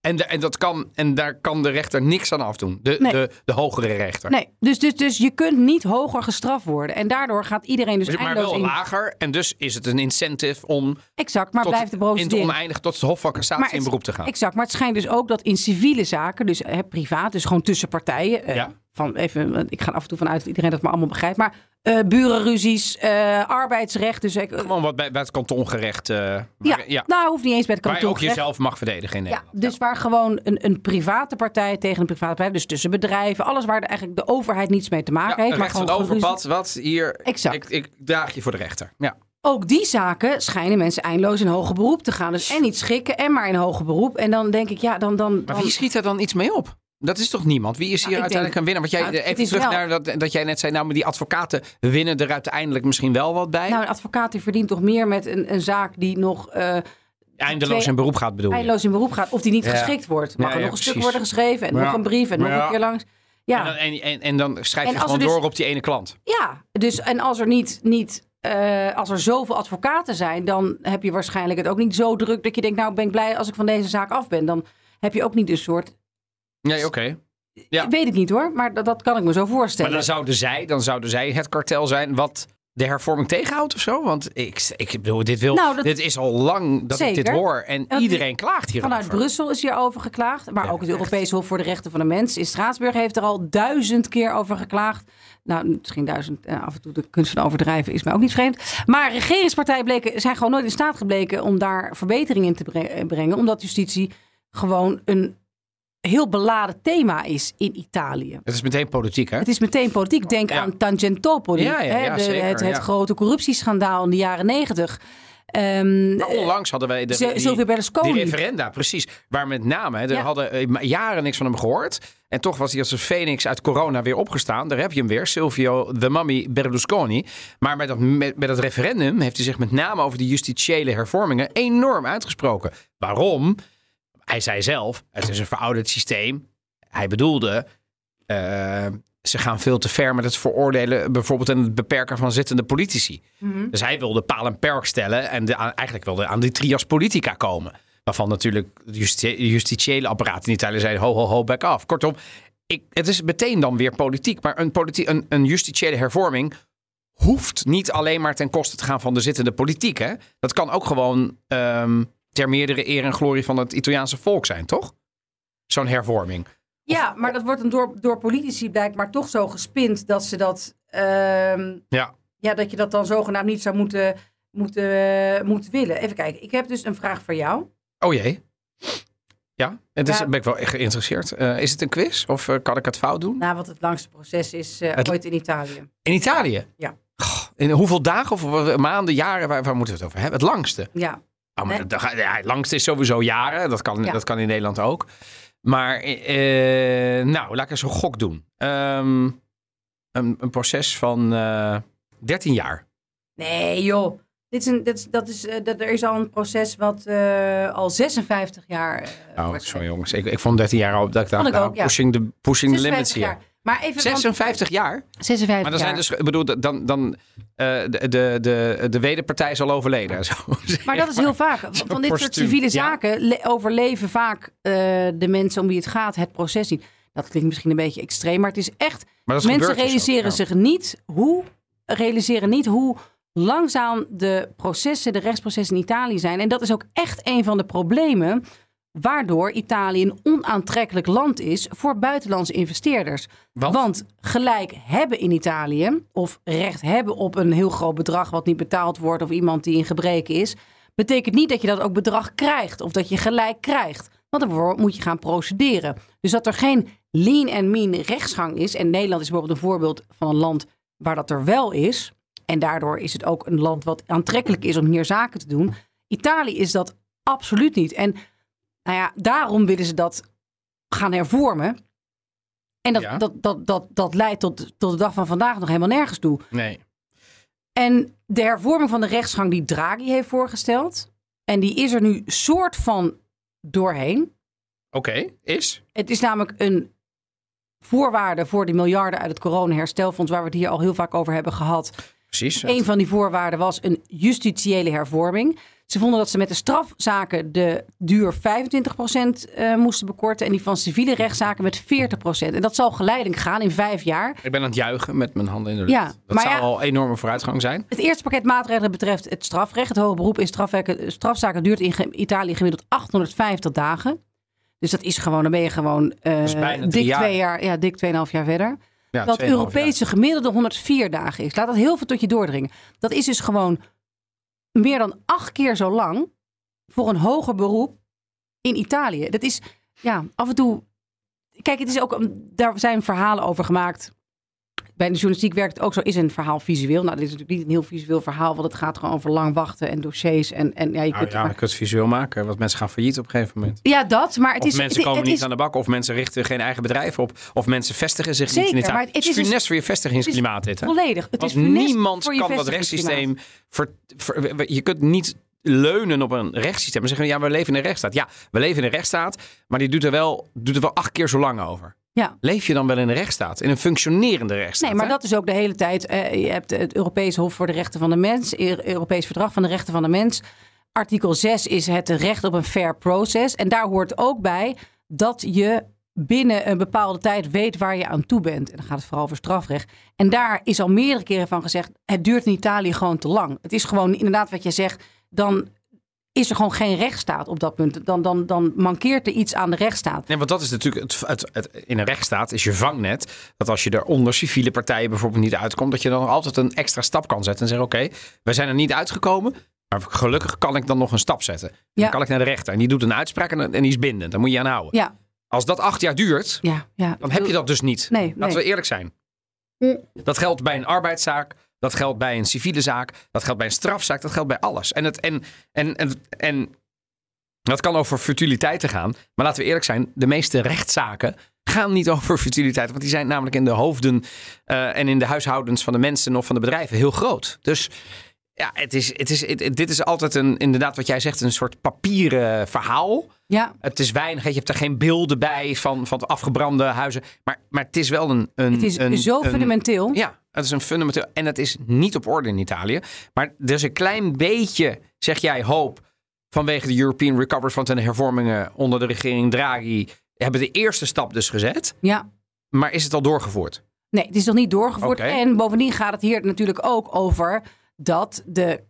S1: En, de- en, dat kan, en daar kan de rechter niks aan afdoen. De,
S2: Nee.
S1: de, de hogere rechter.
S2: nee. Dus, dus, dus je kunt niet hoger gestraft worden. En daardoor gaat iedereen dus
S1: Dus- maar
S2: eindeloos
S1: wel
S2: in.
S1: lager. En dus is het een incentive om
S2: Exact, maar
S1: tot,
S2: blijft de
S1: in het
S2: procedure.
S1: oneindig tot het Hof van Cassatie in
S2: het-
S1: beroep te gaan.
S2: Exact, maar het schijnt dus ook dat in civiele zaken, dus hè, privaat, dus gewoon tussen partijen. eh,
S1: Ja.
S2: van even, want ik ga er af en toe vanuit dat iedereen dat maar allemaal begrijpt. Maar eh, burenruzies, eh, arbeidsrecht. Dus, ik-
S1: Gewoon wat bij, bij het kantongerecht. eh, waar,
S2: ja,
S1: ja,
S2: nou hoeft niet eens bij het
S1: waar je ook
S2: kantoor.
S1: jezelf mag verdedigen in
S2: Ja,
S1: Nederland.
S2: dus waar gewoon een, een private partij tegen een private partij, dus tussen bedrijven, alles waar de, eigenlijk de overheid niets mee te maken heeft. Maar
S1: recht
S2: gewoon
S1: van
S2: geruzie-
S1: overpad, wat hier.
S2: Exact.
S1: Ik, ik draag je voor de rechter. Ja.
S2: ook die zaken schijnen mensen eindeloos in hoger beroep te gaan. Dus en niet schikken en maar in hoger beroep. En dan denk ik, ja, dan. dan,
S1: Maar
S2: dan-
S1: wie schiet er dan iets mee op? Dat is toch niemand? Wie is hier
S2: Nou, ik
S1: uiteindelijk
S2: denk-
S1: een winnaar? Want
S2: Nou,
S1: jij, eh,
S2: het- het
S1: even
S2: is
S1: terug
S2: wel-
S1: naar dat, dat jij net zei, nou, maar die advocaten winnen er uiteindelijk misschien wel wat bij.
S2: Nou, een advocaat die verdient toch meer met een, een zaak die nog eh
S1: eindeloos
S2: twee-
S1: in beroep gaat bedoel je?
S2: eindeloos in beroep gaat. Of die niet
S1: Ja.
S2: geschikt wordt. Mag
S1: Ja,
S2: er
S1: ja,
S2: nog een stuk
S1: precies.
S2: worden geschreven en
S1: Ja.
S2: nog een brief en nog
S1: Ja.
S2: een keer langs.
S1: En, dan,
S2: Ja,
S1: en, en, en dan schrijf
S2: En
S1: je
S2: als
S1: gewoon
S2: er dus-
S1: door op die ene klant.
S2: ja. Dus, en als er niet, niet eh, als er zoveel advocaten zijn, dan heb je waarschijnlijk het ook niet zo druk dat je denkt, nou ben ik blij als ik van deze zaak af ben. Dan heb je ook niet een soort,
S1: Nee, oké. Ja.
S2: ik weet het niet hoor, maar dat, dat kan ik me zo
S1: Maar
S2: voorstellen.
S1: dan zouden, zij, dan zouden zij het kartel zijn wat de hervorming tegenhoudt of zo? Want ik, ik bedoel, dit, wil,
S2: Nou, dat-
S1: dit is al lang dat ik dit
S2: Zeker.
S1: hoor. En
S2: die-
S1: iedereen klaagt hierover.
S2: Vanuit Brussel is hierover geklaagd. Maar
S1: Ja,
S2: ook het Europees Hof voor de Rechten van de Mens in Straatsburg heeft er al duizend keer over geklaagd. Nou, misschien duizend. eh, af en toe de kunst van overdrijven is mij ook niet vreemd. Maar regeringspartijen bleken, zijn gewoon nooit in staat gebleken om daar verbetering in te bre- eh, brengen. Omdat justitie gewoon een heel beladen thema is in Italië.
S1: Het is meteen politiek, hè?
S2: Het is meteen politiek. Denk
S1: Ja.
S2: aan Tangentopoli.
S1: Ja, ja,
S2: hè,
S1: ja,
S2: de-
S1: zeker,
S2: het het
S1: ja.
S2: grote corruptieschandaal in de jaren negentig.
S1: Maar
S2: Ehm
S1: Nou, onlangs hadden wij de,
S2: Sil-
S1: die-
S2: Silvio Berlusconi.
S1: die referenda, precies. Waar met name, hè, er
S2: Ja.
S1: hadden eh, ma- jaren niks van hem gehoord. En toch was hij als een phoenix uit corona weer opgestaan. Daar heb je hem weer, Silvio de Mami Berlusconi. Maar met dat, met, met dat referendum heeft hij zich met name over de justitiële hervormingen enorm uitgesproken. Waarom? Hij zei zelf, het is een verouderd systeem. Hij bedoelde, eh, ze gaan veel te ver met het veroordelen bijvoorbeeld en het beperken van zittende politici. Dus hij wilde paal en perk stellen en de, aan- eigenlijk wilde aan die trias politica komen. Waarvan natuurlijk het justi- justitiële apparaat in Italië zei ho, ho, ho, back off. Kortom, ik, het is meteen dan weer politiek. Maar een, politie- een, een justitiële hervorming hoeft niet alleen maar ten koste te gaan van de zittende politiek. Hè? Dat kan ook gewoon ehm, ter meerdere eer en glorie van het Italiaanse volk zijn, toch? Zo'n hervorming.
S2: Ja, maar dat wordt dan door, door politici blijkbaar toch zo gespind dat ze dat. ehm,
S1: Ja.
S2: ja, dat je dat dan zogenaamd niet zou moeten, moeten, eh, moeten willen. Even kijken, ik heb dus een vraag voor jou.
S1: Oh jee. Ja, het is,
S2: Ja.
S1: ben ik wel geïnteresseerd. Eh, is het een quiz of eh, kan ik het fout doen?
S2: Na wat het langste proces is eh,
S1: Het-
S2: ooit in Italië.
S1: In Italië?
S2: Ja.
S1: Goh, in hoeveel dagen of wa- maanden, jaren, waar, waar moeten we het over hebben? Het langste.
S2: Ja,
S1: Oh, maar
S2: Nee.
S1: dat- dat- ja, het langste is sowieso jaren. Dat kan,
S2: Ja.
S1: dat kan in Nederland ook. Maar, eh, eh, nou, laat ik eens een gok doen. Ehm, een, een proces van eh 13 jaar.
S2: nee joh. Dit is een, dit, is- dat is, eh, dat, er is al een proces wat eh, al 56 jaar. eh,
S1: Oh,
S2: wordt
S1: sorry
S2: gedaan.
S1: jongens. Ik, ik vond 13 jaar al dat ik dacht,
S2: Vond ik
S1: nou,
S2: ook, ja.
S1: pushing, the, pushing the limits
S2: 56
S1: hier.
S2: jaar. Maar even. want-
S1: 56 jaar?
S2: 56
S1: Maar dan
S2: jaar.
S1: zijn dus, ik bedoel, dan, dan eh, de, de, de, de wederpartij is al overleden. Zo,
S2: Maar dat is heel vaak. Van
S1: zo'n
S2: van dit soort
S1: postuum.
S2: civiele
S1: Ja.
S2: zaken le- overleven vaak eh, de mensen om wie het gaat het proces niet. Dat klinkt misschien een beetje extreem, maar het is echt.
S1: Maar dat
S2: mensen
S1: gebeurt dus ook,
S2: realiseren
S1: ja.
S2: zich niet hoe realiseren niet hoe langzaam de processen, de rechtsprocessen in Italië zijn. En dat is ook echt een van de problemen waardoor Italië een onaantrekkelijk land is voor buitenlandse investeerders.
S1: Want?
S2: gelijk hebben in Italië, of recht hebben op een heel groot bedrag wat niet betaald wordt, of iemand die in gebreken is, betekent niet dat je dat ook bedrag krijgt of dat je gelijk krijgt. Want daarvoor moet je gaan procederen. Dus dat er geen lean en mean rechtsgang is, en Nederland is bijvoorbeeld een voorbeeld van een land waar dat er wel is, en daardoor is het ook een land wat aantrekkelijk is om hier zaken te doen. Italië is dat absoluut niet. En nou ja, daarom willen ze dat gaan hervormen. En dat,
S1: Ja.
S2: dat, dat, dat, dat leidt tot, tot de dag van vandaag nog helemaal nergens toe.
S1: Nee.
S2: En de hervorming van de rechtsgang die Draghi heeft voorgesteld. En die is er nu soort van doorheen.
S1: Oké, is?
S2: Het is namelijk een voorwaarde voor die miljarden uit het coronaherstelfonds, waar we het hier al heel vaak over hebben gehad.
S1: Precies.
S2: Een van die voorwaarden was een justitiële hervorming. Ze vonden dat ze met de strafzaken de duur 25% eh, moesten bekorten en die van civiele rechtszaken met 40%. En dat zal geleidelijk gaan in vijf jaar.
S1: Ik ben aan het juichen met mijn handen in de lucht.
S2: Ja,
S1: dat
S2: maar
S1: zou
S2: ja-
S1: al enorme vooruitgang zijn.
S2: Het eerste pakket maatregelen betreft het strafrecht. Het hoge beroep in strafwerken- strafzaken duurt in ge- Italië gemiddeld 850 dagen. Dus dat is gewoon, dan ben je gewoon eh,
S1: is bijna drie
S2: dik
S1: jaar.
S2: twee jaar, ja, dik 2,5 jaar verder.
S1: Ja,
S2: dat
S1: 2,5 jaar.
S2: Europese gemiddelde 104 dagen is. Laat dat heel veel tot je doordringen. Dat is dus gewoon meer dan acht keer zo lang voor een hoger beroep in Italië. Dat is, ja, af en toe... Kijk, het is ook, een- daar zijn verhalen over gemaakt. Bij de journalistiek werkt het ook zo. Is een verhaal visueel? Nou, dit is natuurlijk niet een heel visueel verhaal, want het gaat gewoon over lang wachten en dossiers. En, en ja, je
S1: Nou
S2: kunt
S1: ja, je kunt het visueel maken, want mensen gaan failliet op een gegeven moment.
S2: ja, dat, maar het
S1: Of
S2: is...
S1: mensen
S2: het-
S1: komen
S2: het
S1: niet
S2: is,
S1: aan de bak, of mensen richten geen eigen bedrijf op, of mensen vestigen zich niet in
S2: Zeker,
S1: Italië.
S2: maar het is
S1: is
S2: dus-
S1: funest voor je vestigingsklimaat dit. Hè?
S2: Volledig. Het
S1: Want
S2: is funest
S1: niemand
S2: voor je
S1: kan dat
S2: vestigingsklimaat.
S1: rechtssysteem. Ver, ver- je kunt niet leunen op een rechtssysteem en zeggen: ja, we leven in een rechtsstaat. Ja, we leven in een rechtsstaat, maar die doet er wel, doet er wel acht keer zo lang over.
S2: Ja.
S1: Leef je dan wel in een rechtsstaat, in een functionerende rechtsstaat?
S2: Nee, maar
S1: hè?
S2: dat is ook de hele tijd. eh, je hebt het Europees Hof voor de Rechten van de Mens, Eer- Europees Verdrag van de Rechten van de Mens. Artikel 6 is het recht op een fair proces. En daar hoort ook bij dat je binnen een bepaalde tijd weet waar je aan toe bent. En dan gaat het vooral over strafrecht. En daar is al meerdere keren van gezegd, het duurt in Italië gewoon te lang. Het is gewoon inderdaad wat je zegt, dan is er gewoon geen rechtsstaat op dat punt. Dan, dan, dan mankeert er iets aan de rechtsstaat.
S1: Nee, want dat is natuurlijk het, het, het- in een rechtsstaat is je vangnet dat als je er onder civiele partijen bijvoorbeeld niet uitkomt, dat je dan nog altijd een extra stap kan zetten en zeggen: oké, we zijn er niet uitgekomen, maar gelukkig kan ik dan nog een stap zetten. Dan
S2: Ja.
S1: kan ik naar de rechter en die doet een uitspraak en, en die is bindend. Dan moet je aan houden.
S2: Ja,
S1: Als dat acht jaar duurt,
S2: ja, ja.
S1: dan heb je dat dus niet.
S2: Nee,
S1: Laten
S2: nee.
S1: we eerlijk zijn. Dat geldt bij een arbeidszaak. Dat geldt bij een civiele zaak. Dat geldt bij een strafzaak. Dat geldt bij alles. En, het, en, en, en, en dat kan over futiliteiten gaan. Maar laten we eerlijk zijn. De meeste rechtszaken gaan niet over futiliteit. Want die zijn namelijk in de hoofden eh, en in de huishoudens van de mensen of van de bedrijven heel groot. Dus ja, het is, het is, het- dit is altijd een, inderdaad wat jij zegt, een soort papieren verhaal.
S2: Ja,
S1: Het is weinig. hè. Je hebt er geen beelden bij van, van de afgebrande huizen. Maar, maar het is wel een. een
S2: het is
S1: een,
S2: zo
S1: een-
S2: fundamenteel.
S1: Ja, het is een fundamenteel. En het is niet op orde in Italië. Maar er is een klein beetje, zeg jij, hoop. Vanwege de European Recovery Fund en de hervormingen onder de regering Draghi. Hebben de eerste stap dus gezet.
S2: ja.
S1: Maar is het al doorgevoerd?
S2: Nee, het is nog niet doorgevoerd.
S1: Oké.
S2: En bovendien gaat het hier natuurlijk ook over dat de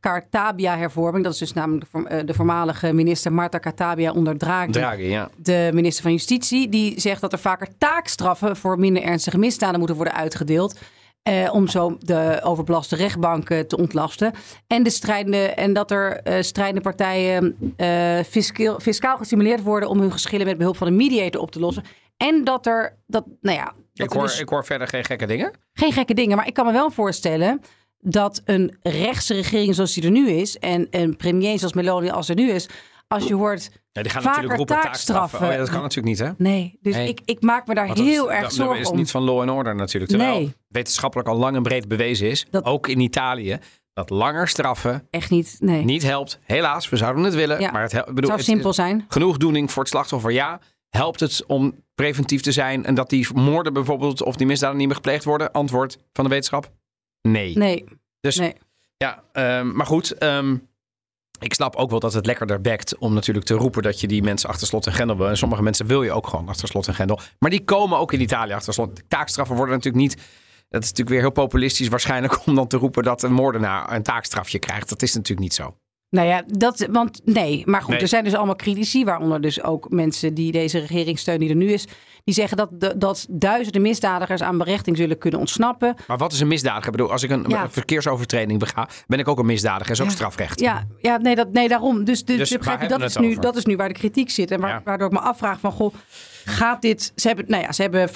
S2: Cartabia-hervorming, dat is dus namelijk de, voorm- eh, de voormalige minister Marta Cartabia onder Draghi,
S1: Draghi, ja.
S2: de minister van Justitie, die zegt dat er vaker taakstraffen voor minder ernstige misdaden moeten worden uitgedeeld. eh, om zo de overbelaste rechtbanken te ontlasten. En, de strijdende, en dat er eh strijdende partijen eh, fiscaal, fiscaal gestimuleerd worden om hun geschillen met behulp van een mediator op te lossen. En dat er, dat, nou ja, dat
S1: Ik
S2: er
S1: hoor,
S2: dus-
S1: ik hoor verder geen gekke dingen.
S2: geen gekke dingen. Maar ik kan me wel voorstellen dat een rechtse regering zoals die er nu is... en een premier zoals Meloni als er nu is... als je hoort...
S1: Ja, die gaan
S2: Vaker
S1: natuurlijk roepen taakstraffen.
S2: taakstraffen.
S1: Oh ja, dat kan natuurlijk niet, hè?
S2: Nee, dus
S1: Nee.
S2: Ik, ik maak me daar
S1: Want dat
S2: heel
S1: is-
S2: erg
S1: dat-
S2: zorgen
S1: Dat is
S2: om.
S1: niet van law and order natuurlijk. Terwijl
S2: Nee.
S1: wetenschappelijk al lang en breed bewezen is,
S2: Dat-
S1: ook in Italië, dat langer straffen
S2: Echt niet, nee.
S1: niet helpt. Helaas, we zouden het willen,
S2: Ja.
S1: maar het, hel- ik
S2: het
S1: bedoel,
S2: zou
S1: het-
S2: simpel zijn.
S1: genoegdoening voor het slachtoffer, ja. Helpt het om preventief te zijn en dat die moorden bijvoorbeeld of die misdaden niet meer gepleegd worden? Antwoord van de wetenschap, nee.
S2: Nee,
S1: Dus
S2: nee.
S1: ja, ehm, maar goed. ehm, ik snap ook wel dat het lekkerder bekt om natuurlijk te roepen dat je die mensen achter slot en grendel wil. En sommige mensen wil je ook gewoon achter slot en grendel. Maar die komen ook in Italië achter slot. Taakstraffen worden natuurlijk niet. Dat is natuurlijk weer heel populistisch waarschijnlijk om dan te roepen dat een moordenaar een taakstrafje krijgt. Dat is natuurlijk niet zo.
S2: Nou ja, dat, want nee. Maar goed,
S1: Nee.
S2: er zijn dus allemaal critici, waaronder dus ook mensen die deze regering steunen, die er nu is. Die zeggen dat, de- dat duizenden misdadigers aan berechting zullen kunnen ontsnappen.
S1: Maar wat is een misdadiger? Ik bedoel, als ik een
S2: Ja.
S1: een verkeersovertreding bega, ben ik ook een misdadiger. is ook strafrecht.
S2: Ja, ja nee, dat, nee, daarom. Dus, de,
S1: Dus
S2: je begrijpt,
S1: waar
S2: dat,
S1: hebben
S2: is
S1: we het
S2: nu,
S1: over?
S2: dat is nu waar de kritiek zit. En waar-
S1: Ja.
S2: waardoor ik me afvraag van, goh, gaat dit... Ze hebben, nou ja, ze hebben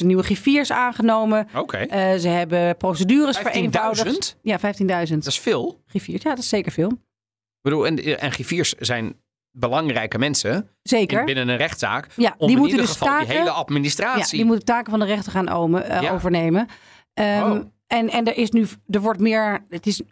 S2: 15.000 nieuwe griffiers aangenomen.
S1: Oké.
S2: Eh, ze hebben procedures
S1: 15.000?
S2: vereenvoudigd. Ja, 15.000
S1: Dat is veel.
S2: griffiers. Ja, dat is zeker veel.
S1: Ik bedoel, en, en griffiers zijn belangrijke mensen
S2: Zeker.
S1: binnen een rechtszaak.
S2: Ja,
S1: om
S2: die
S1: in
S2: moeten
S1: ieder
S2: dus
S1: geval die
S2: staken.
S1: hele
S2: Ja,
S1: administratie.
S2: die moeten taken van de rechter gaan omen- eh,
S1: Ja.
S2: overnemen. Ehm,
S1: Oh.
S2: En, en er is nu, er wordt meer, het is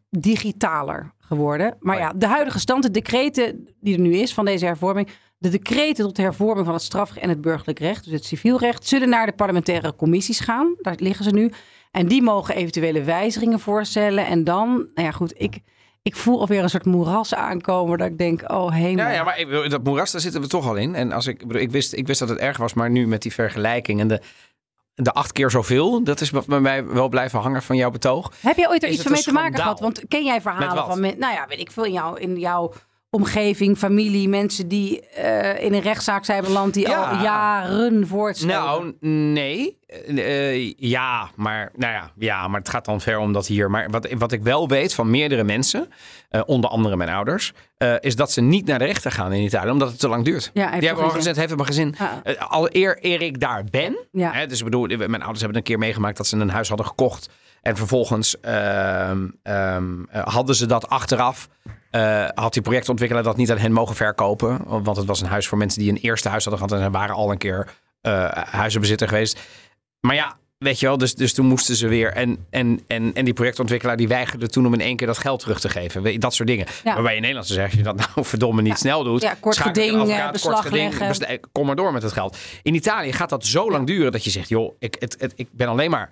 S2: digitaler geworden. Maar
S1: Oh ja.
S2: ja, de huidige stand, de decreten die er nu is van deze hervorming, de decreten tot de hervorming van het strafrecht en het burgerlijk recht, dus het civielrecht, zullen naar de parlementaire commissies gaan. Daar liggen ze nu. En die mogen eventuele wijzigingen voorstellen. En dan, nou ja, goed, ik, ik voel alweer een soort moeras aankomen dat ik denk, oh hemel.
S1: Ja, ja, maar ik bedoel, dat moeras, daar zitten we toch al in. En als ik, ik bedoel, ik, wist, ik wist dat het erg was, maar nu met die vergelijking en de, de acht keer zoveel, dat is wat bij mij wel blijven hangen van jouw betoog.
S2: Heb jij ooit er
S1: Is
S2: iets
S1: het
S2: van mee
S1: een
S2: te maken
S1: schandaal?
S2: gehad? Want ken jij
S1: Met
S2: verhalen
S1: wat?
S2: van mensen, nou ja, weet ik veel, in, jou, in jouw omgeving, familie, mensen die eh, in een rechtszaak zijn beland, die
S1: Ja.
S2: al jaren voortstoten?
S1: Nou, nee. Eh, eh, ja, maar, nou ja, ja, maar het gaat dan ver om dat hier. Maar wat, wat ik wel weet van meerdere mensen, eh, onder andere mijn ouders, eh, is dat ze niet naar de rechter gaan in Italië, omdat het te lang duurt.
S2: Ja,
S1: Die
S2: heeft toch Ah.
S1: hebben al
S2: geen zin.
S1: gezegd, heeft mijn gezin.
S2: Ja.
S1: Eh, al eer, eer ik daar ben.
S2: Ja.
S1: Hè, dus ik bedoel, mijn ouders hebben het een keer meegemaakt dat ze een huis hadden gekocht. En vervolgens ehm, ehm, eh, hadden ze dat achteraf. eh, had die projectontwikkelaar dat niet aan hen mogen verkopen. Want het was een huis voor mensen die een eerste huis hadden gehad. En ze waren al een keer eh, huizenbezitter geweest. Maar ja, weet je wel, dus, dus toen moesten ze weer. En, en, en, en die projectontwikkelaar die weigerde toen om in één keer dat geld terug te geven. Weet je, Dat soort dingen.
S2: Ja.
S1: Waarbij in Nederland ze zeggen, als je dat nou verdomme niet snel doet.
S2: Ja, kort
S1: schakel je een
S2: geding,
S1: advocaat,
S2: eh,
S1: kort
S2: beslag
S1: geding,
S2: leggen.
S1: bes- eh, kom maar door met het geld. In Italië gaat dat zo lang duren dat je zegt, joh, ik, het, het- ik ben alleen maar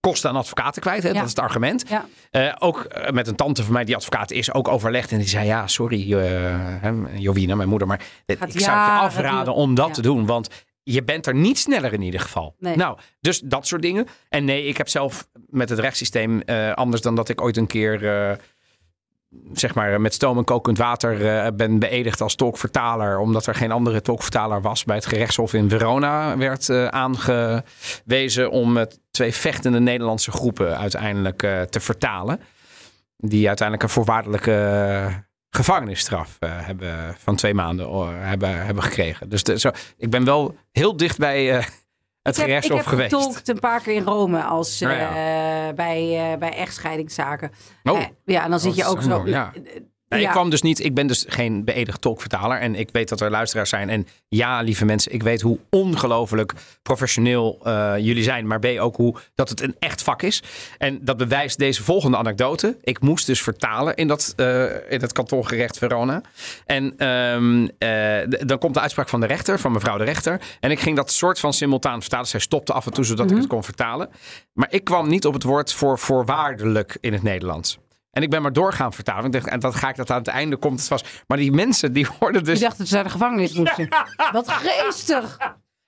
S1: kosten aan advocaten kwijt. Hè?
S2: Ja.
S1: Dat is het argument.
S2: Ja.
S1: Eh, ook eh, met een tante van mij die advocaat is, ook overlegd. En die zei, ja, sorry, eh, hè, Jovina, mijn moeder, maar eh,
S2: Gaat
S1: ik zou het je
S2: jaren
S1: afraden
S2: duren.
S1: om dat
S2: Ja.
S1: te doen. Want je bent er niet sneller in ieder geval.
S2: Nee.
S1: Nou, dus dat soort dingen. En nee, ik heb zelf met het rechtssysteem eh, anders dan dat ik ooit een keer... eh, zeg maar met stoom en kokend water eh, ben beëdigd als tolkvertaler. Omdat er geen andere tolkvertaler was. Bij het gerechtshof in Verona werd eh, aangewezen om met twee vechtende Nederlandse groepen uiteindelijk eh, te vertalen. Die uiteindelijk een voorwaardelijke eh, gevangenisstraf eh, hebben van twee maanden eh, hebben, hebben gekregen. Dus de- zo, ik ben wel heel dicht bij eh, het
S2: Ik heb, ik
S1: gerechtshof
S2: heb
S1: geweest.
S2: getolkt een paar keer in Rome als,
S1: Nou
S2: eh, bij, eh, bij echtscheidingszaken. Eh, ja, en dan zit je
S1: dat
S2: ook
S1: is
S2: zo... Eh,
S1: ook- Oh. ja. Nee,
S2: Ja.
S1: Ik kwam dus niet. Ik ben dus geen beëdigd tolkvertaler. En ik weet dat er luisteraars zijn. En ja, lieve mensen, ik weet hoe ongelooflijk professioneel eh, jullie zijn. Maar B ook hoe dat het een echt vak is. En dat bewijst deze volgende anekdote. Ik moest dus vertalen in dat, eh in dat kantongerecht Verona. En ehm, eh, d- dan komt de uitspraak van de rechter, van mevrouw de rechter. En ik ging dat soort van simultaan vertalen. Zij stopte af en toe zodat ik het kon vertalen. Maar ik kwam niet op het woord voor voorwaardelijk in het Nederlands. En ik ben maar door gaan vertalen. Ik dacht, en dat ga ik dat aan het einde komt het vast. Maar die mensen die hoorden
S2: Ik
S1: dus.
S2: dacht dat ze naar de gevangenis moesten. Wat geestig!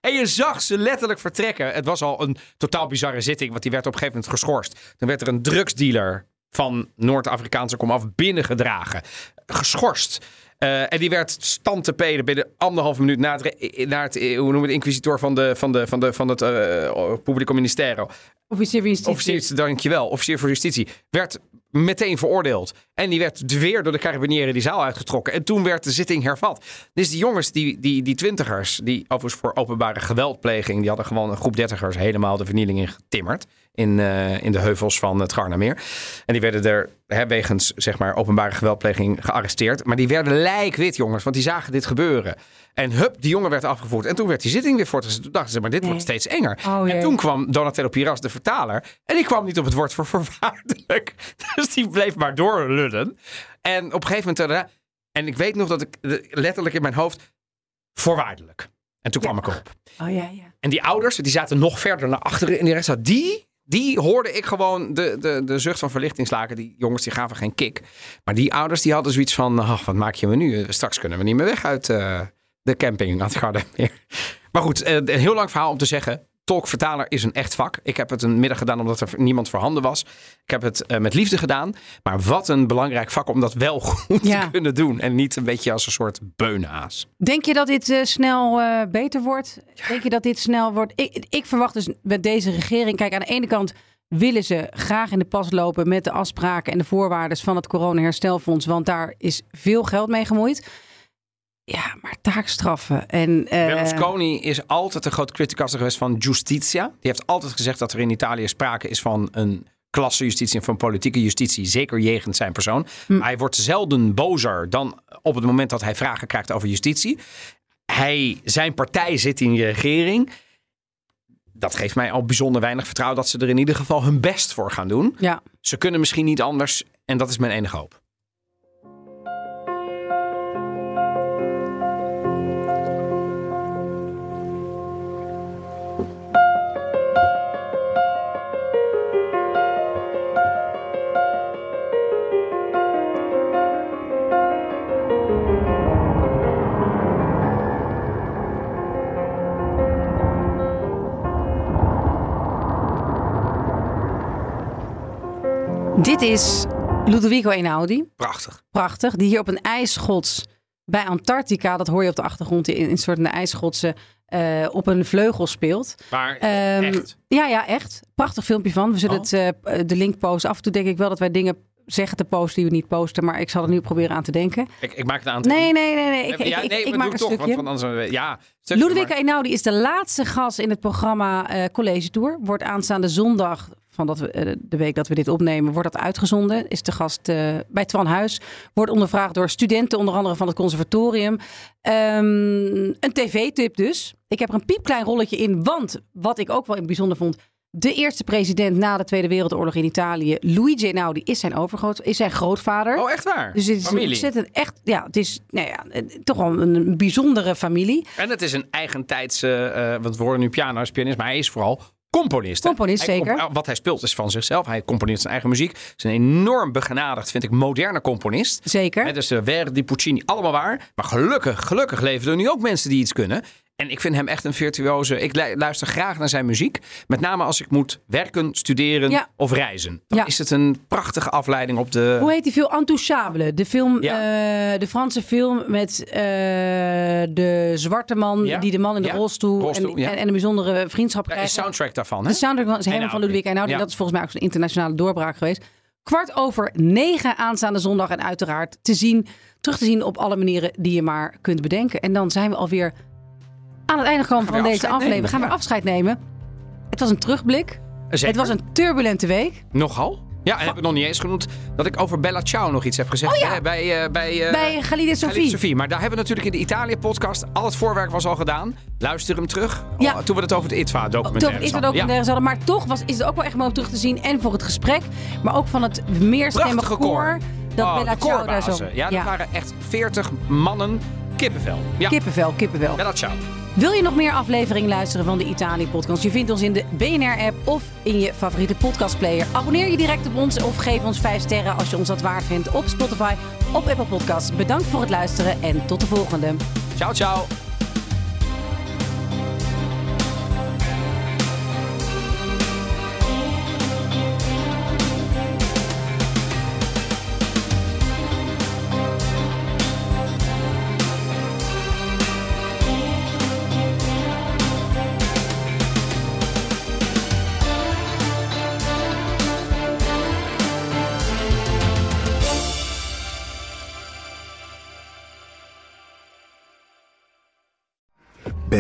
S1: En je zag ze letterlijk vertrekken. Het was al een totaal bizarre zitting, want die werd op een gegeven moment geschorst. Toen werd er een drugsdealer van Noord-Afrikaanse komaf binnengedragen. Geschorst. Eh, en die werd stand te peden binnen anderhalf minuut na het, re- na het eh, hoe noemen we het, inquisitor van, de, van, de, van, de, van het eh Publico Ministero.
S2: Officier van justitie.
S1: Officier, dankjewel. Officier voor justitie. Werd meteen veroordeeld. En die werd weer door de carabinieri die zaal uitgetrokken. En toen werd de zitting hervat. Dus die jongens, die, die, die twintigers, die overigens voor openbare geweldpleging, die hadden gewoon een groep dertigers helemaal de vernieling in getimmerd. In, eh, in de heuvels van het Garnameer. En die werden er hè, wegens zeg maar, openbare geweldpleging gearresteerd. Maar die werden lijkwit, jongens, want die zagen dit gebeuren. En hup, die jongen werd afgevoerd. En toen werd die zitting weer voortgezet. Toen dachten ze, maar dit wordt steeds enger.
S2: Oh,
S1: en
S2: jee.
S1: toen kwam Donatello Piras, de vertaler. En die kwam niet op het woord voor voorwaardelijk. Dus die bleef maar doorlullen. En op een gegeven moment... daarna- En ik weet nog dat ik eh, letterlijk in mijn hoofd... Voorwaardelijk. En toen kwam ik erop.
S2: Oh ja, ja.
S1: En die ouders, die zaten nog verder naar achteren in die rechtszaal. Die, die hoorde ik gewoon de, de, de zucht van verlichtingslaken. Die jongens, die gaven geen kick. Maar die ouders, die hadden zoiets van... "Ach, wat maak je me nu? Straks kunnen we niet meer weg uit eh, de camping aan het Gardameer. Maar goed, eh, een heel lang verhaal om te zeggen... Tolkvertaler is een echt vak. Ik heb het een middag gedaan omdat er niemand voorhanden was. Ik heb het eh, met liefde gedaan. Maar wat een belangrijk vak om dat wel goed te
S2: Ja.
S1: kunnen doen. En niet een beetje als een soort beunhaas.
S2: Denk je dat dit eh, snel eh, beter wordt? Denk je dat dit snel wordt? Ik, ik verwacht dus met deze regering. Kijk, aan de ene kant willen ze graag in de pas lopen met de afspraken en de voorwaarden van het coronaherstelfonds. Want daar is veel geld mee gemoeid. Ja, maar taakstraffen en. eh,
S1: Berlusconi is altijd een groot criticaster geweest van Justitia. Die heeft altijd gezegd dat er in Italië sprake is van een klasse justitie en van politieke justitie, zeker jegens zijn persoon.
S2: Hm.
S1: Hij wordt zelden bozer dan op het moment dat hij vragen krijgt over justitie. Hij, zijn partij zit in je regering. Dat geeft mij al bijzonder weinig vertrouwen dat ze er in ieder geval hun best voor gaan doen.
S2: Ja.
S1: Ze kunnen misschien niet anders en dat is mijn enige hoop.
S2: Dit is Ludovico Einaudi.
S1: Prachtig.
S2: Prachtig. Die hier op een ijsschots bij Antarctica, dat hoor je op de achtergrond in een soort ijsschotsen, eh, op een vleugel speelt.
S1: Maar
S2: Ehm,
S1: echt.
S2: Ja, ja, echt. Prachtig filmpje van. We zullen
S1: Oh.
S2: het, eh, de link posten. Af en toe denk ik wel dat wij dingen zeggen te posten die we niet posten. Maar ik zal er nu proberen aan te denken.
S1: Ik, ik maak het aan.
S2: Nee, nee, nee. nee. Ik,
S1: ja,
S2: ik,
S1: nee,
S2: ik, ik
S1: maar
S2: maak
S1: doe
S2: een
S1: toch,
S2: stukje.
S1: want anders... Ja, stukje
S2: Ludovica
S1: maar.
S2: Einaudi is de laatste gast in het programma eh, College Tour. Wordt aanstaande zondag, van dat we, eh, de week dat we dit opnemen, wordt dat uitgezonden. Is de gast eh, bij Twan Huis. Wordt ondervraagd door studenten, onder andere van het conservatorium. Ehm, een tv-tip dus. Ik heb er een piepklein rolletje in, want wat ik ook wel bijzonder vond... De eerste president na de Tweede Wereldoorlog in Italië, Luigi Einaudi, is zijn overgroot, is zijn grootvader.
S1: Oh, echt waar?
S2: dus het is een
S1: Familie.
S2: ontzettend echt, ja, het is nou ja, eh, toch wel een bijzondere familie.
S1: En het is een eigentijdse, eh, want we horen nu piano is pianist, maar hij is vooral componist. hè?
S2: Componist,
S1: Hij
S2: zeker.
S1: comp- wat hij speelt is van zichzelf. Hij componeert zijn eigen muziek. Is een enorm begenadigd, vind ik, moderne componist.
S2: Zeker.
S1: Hè, dus eh, Verdi, Puccini, allemaal waar. Maar gelukkig, gelukkig leven er nu ook mensen die iets kunnen. En ik vind hem echt een virtuoze. Ik lu- luister graag naar zijn muziek. Met name als ik moet werken, studeren
S2: Ja.
S1: of reizen. Dan
S2: Ja.
S1: is het een prachtige afleiding op de...
S2: Hoe heet die film? Intouchable. De, film,
S1: Ja.
S2: eh, de Franse film met eh, de zwarte man,
S1: Ja.
S2: die de man in de
S1: Ja.
S2: rolstoel,
S1: Rolstoel,
S2: en,
S1: ja.
S2: en, en een bijzondere vriendschap
S1: Ja, de
S2: krijgt.
S1: soundtrack daarvan, hè?
S2: De soundtrack van, is helemaal van
S1: Einaudi.
S2: Ludwig Einaudi.
S1: Ja.
S2: Dat is volgens mij ook zo'n internationale doorbraak geweest. Kwart over negen aanstaande zondag. En uiteraard te zien, terug te zien op alle manieren die je maar kunt bedenken. En dan zijn we alweer aan het einde gekomen van
S1: weer
S2: deze
S1: afscheid
S2: aflevering.
S1: nemen,
S2: We gaan weer
S1: ja.
S2: afscheid nemen. Het was een terugblik.
S1: Zeker.
S2: Het was een turbulente week.
S1: Nogal? Ja, en heb ik nog niet eens genoemd dat ik over Bella Ciao nog iets heb gezegd.
S2: Oh ja.
S1: Eh, Bij, eh, bij, eh,
S2: bij Galide en
S1: Khalid
S2: Sophie.
S1: Sophie. Maar daar hebben we natuurlijk in de Italië-podcast... al het voorwerk was al gedaan. Luister hem terug.
S2: Ja. Oh,
S1: Oh, toen we het over het ITVA-documentaire
S2: Toch is dat
S1: hadden.
S2: ook eh, nergens hadden. Maar toch was, is het ook wel echt mooi om terug te zien. En voor het gesprek. Maar ook van het meerstemmige
S1: Prachtige koor.
S2: koor. Dat
S1: Oh,
S2: Bella
S1: de
S2: Ciao daar zo...
S1: koorbazen. Ja, dat waren echt 40 mannen kippenvel. Ja,
S2: Kippenvel, kippenvel.
S1: Bella Ciao.
S2: Wil je nog meer afleveringen luisteren van de Italië-podcast? Je vindt ons in de BNR-app of in je favoriete podcastplayer. Abonneer je direct op ons of geef ons 5 sterren als je ons dat waard vindt op Spotify, op Apple Podcasts. Bedankt voor het luisteren en tot de volgende.
S1: Ciao, ciao.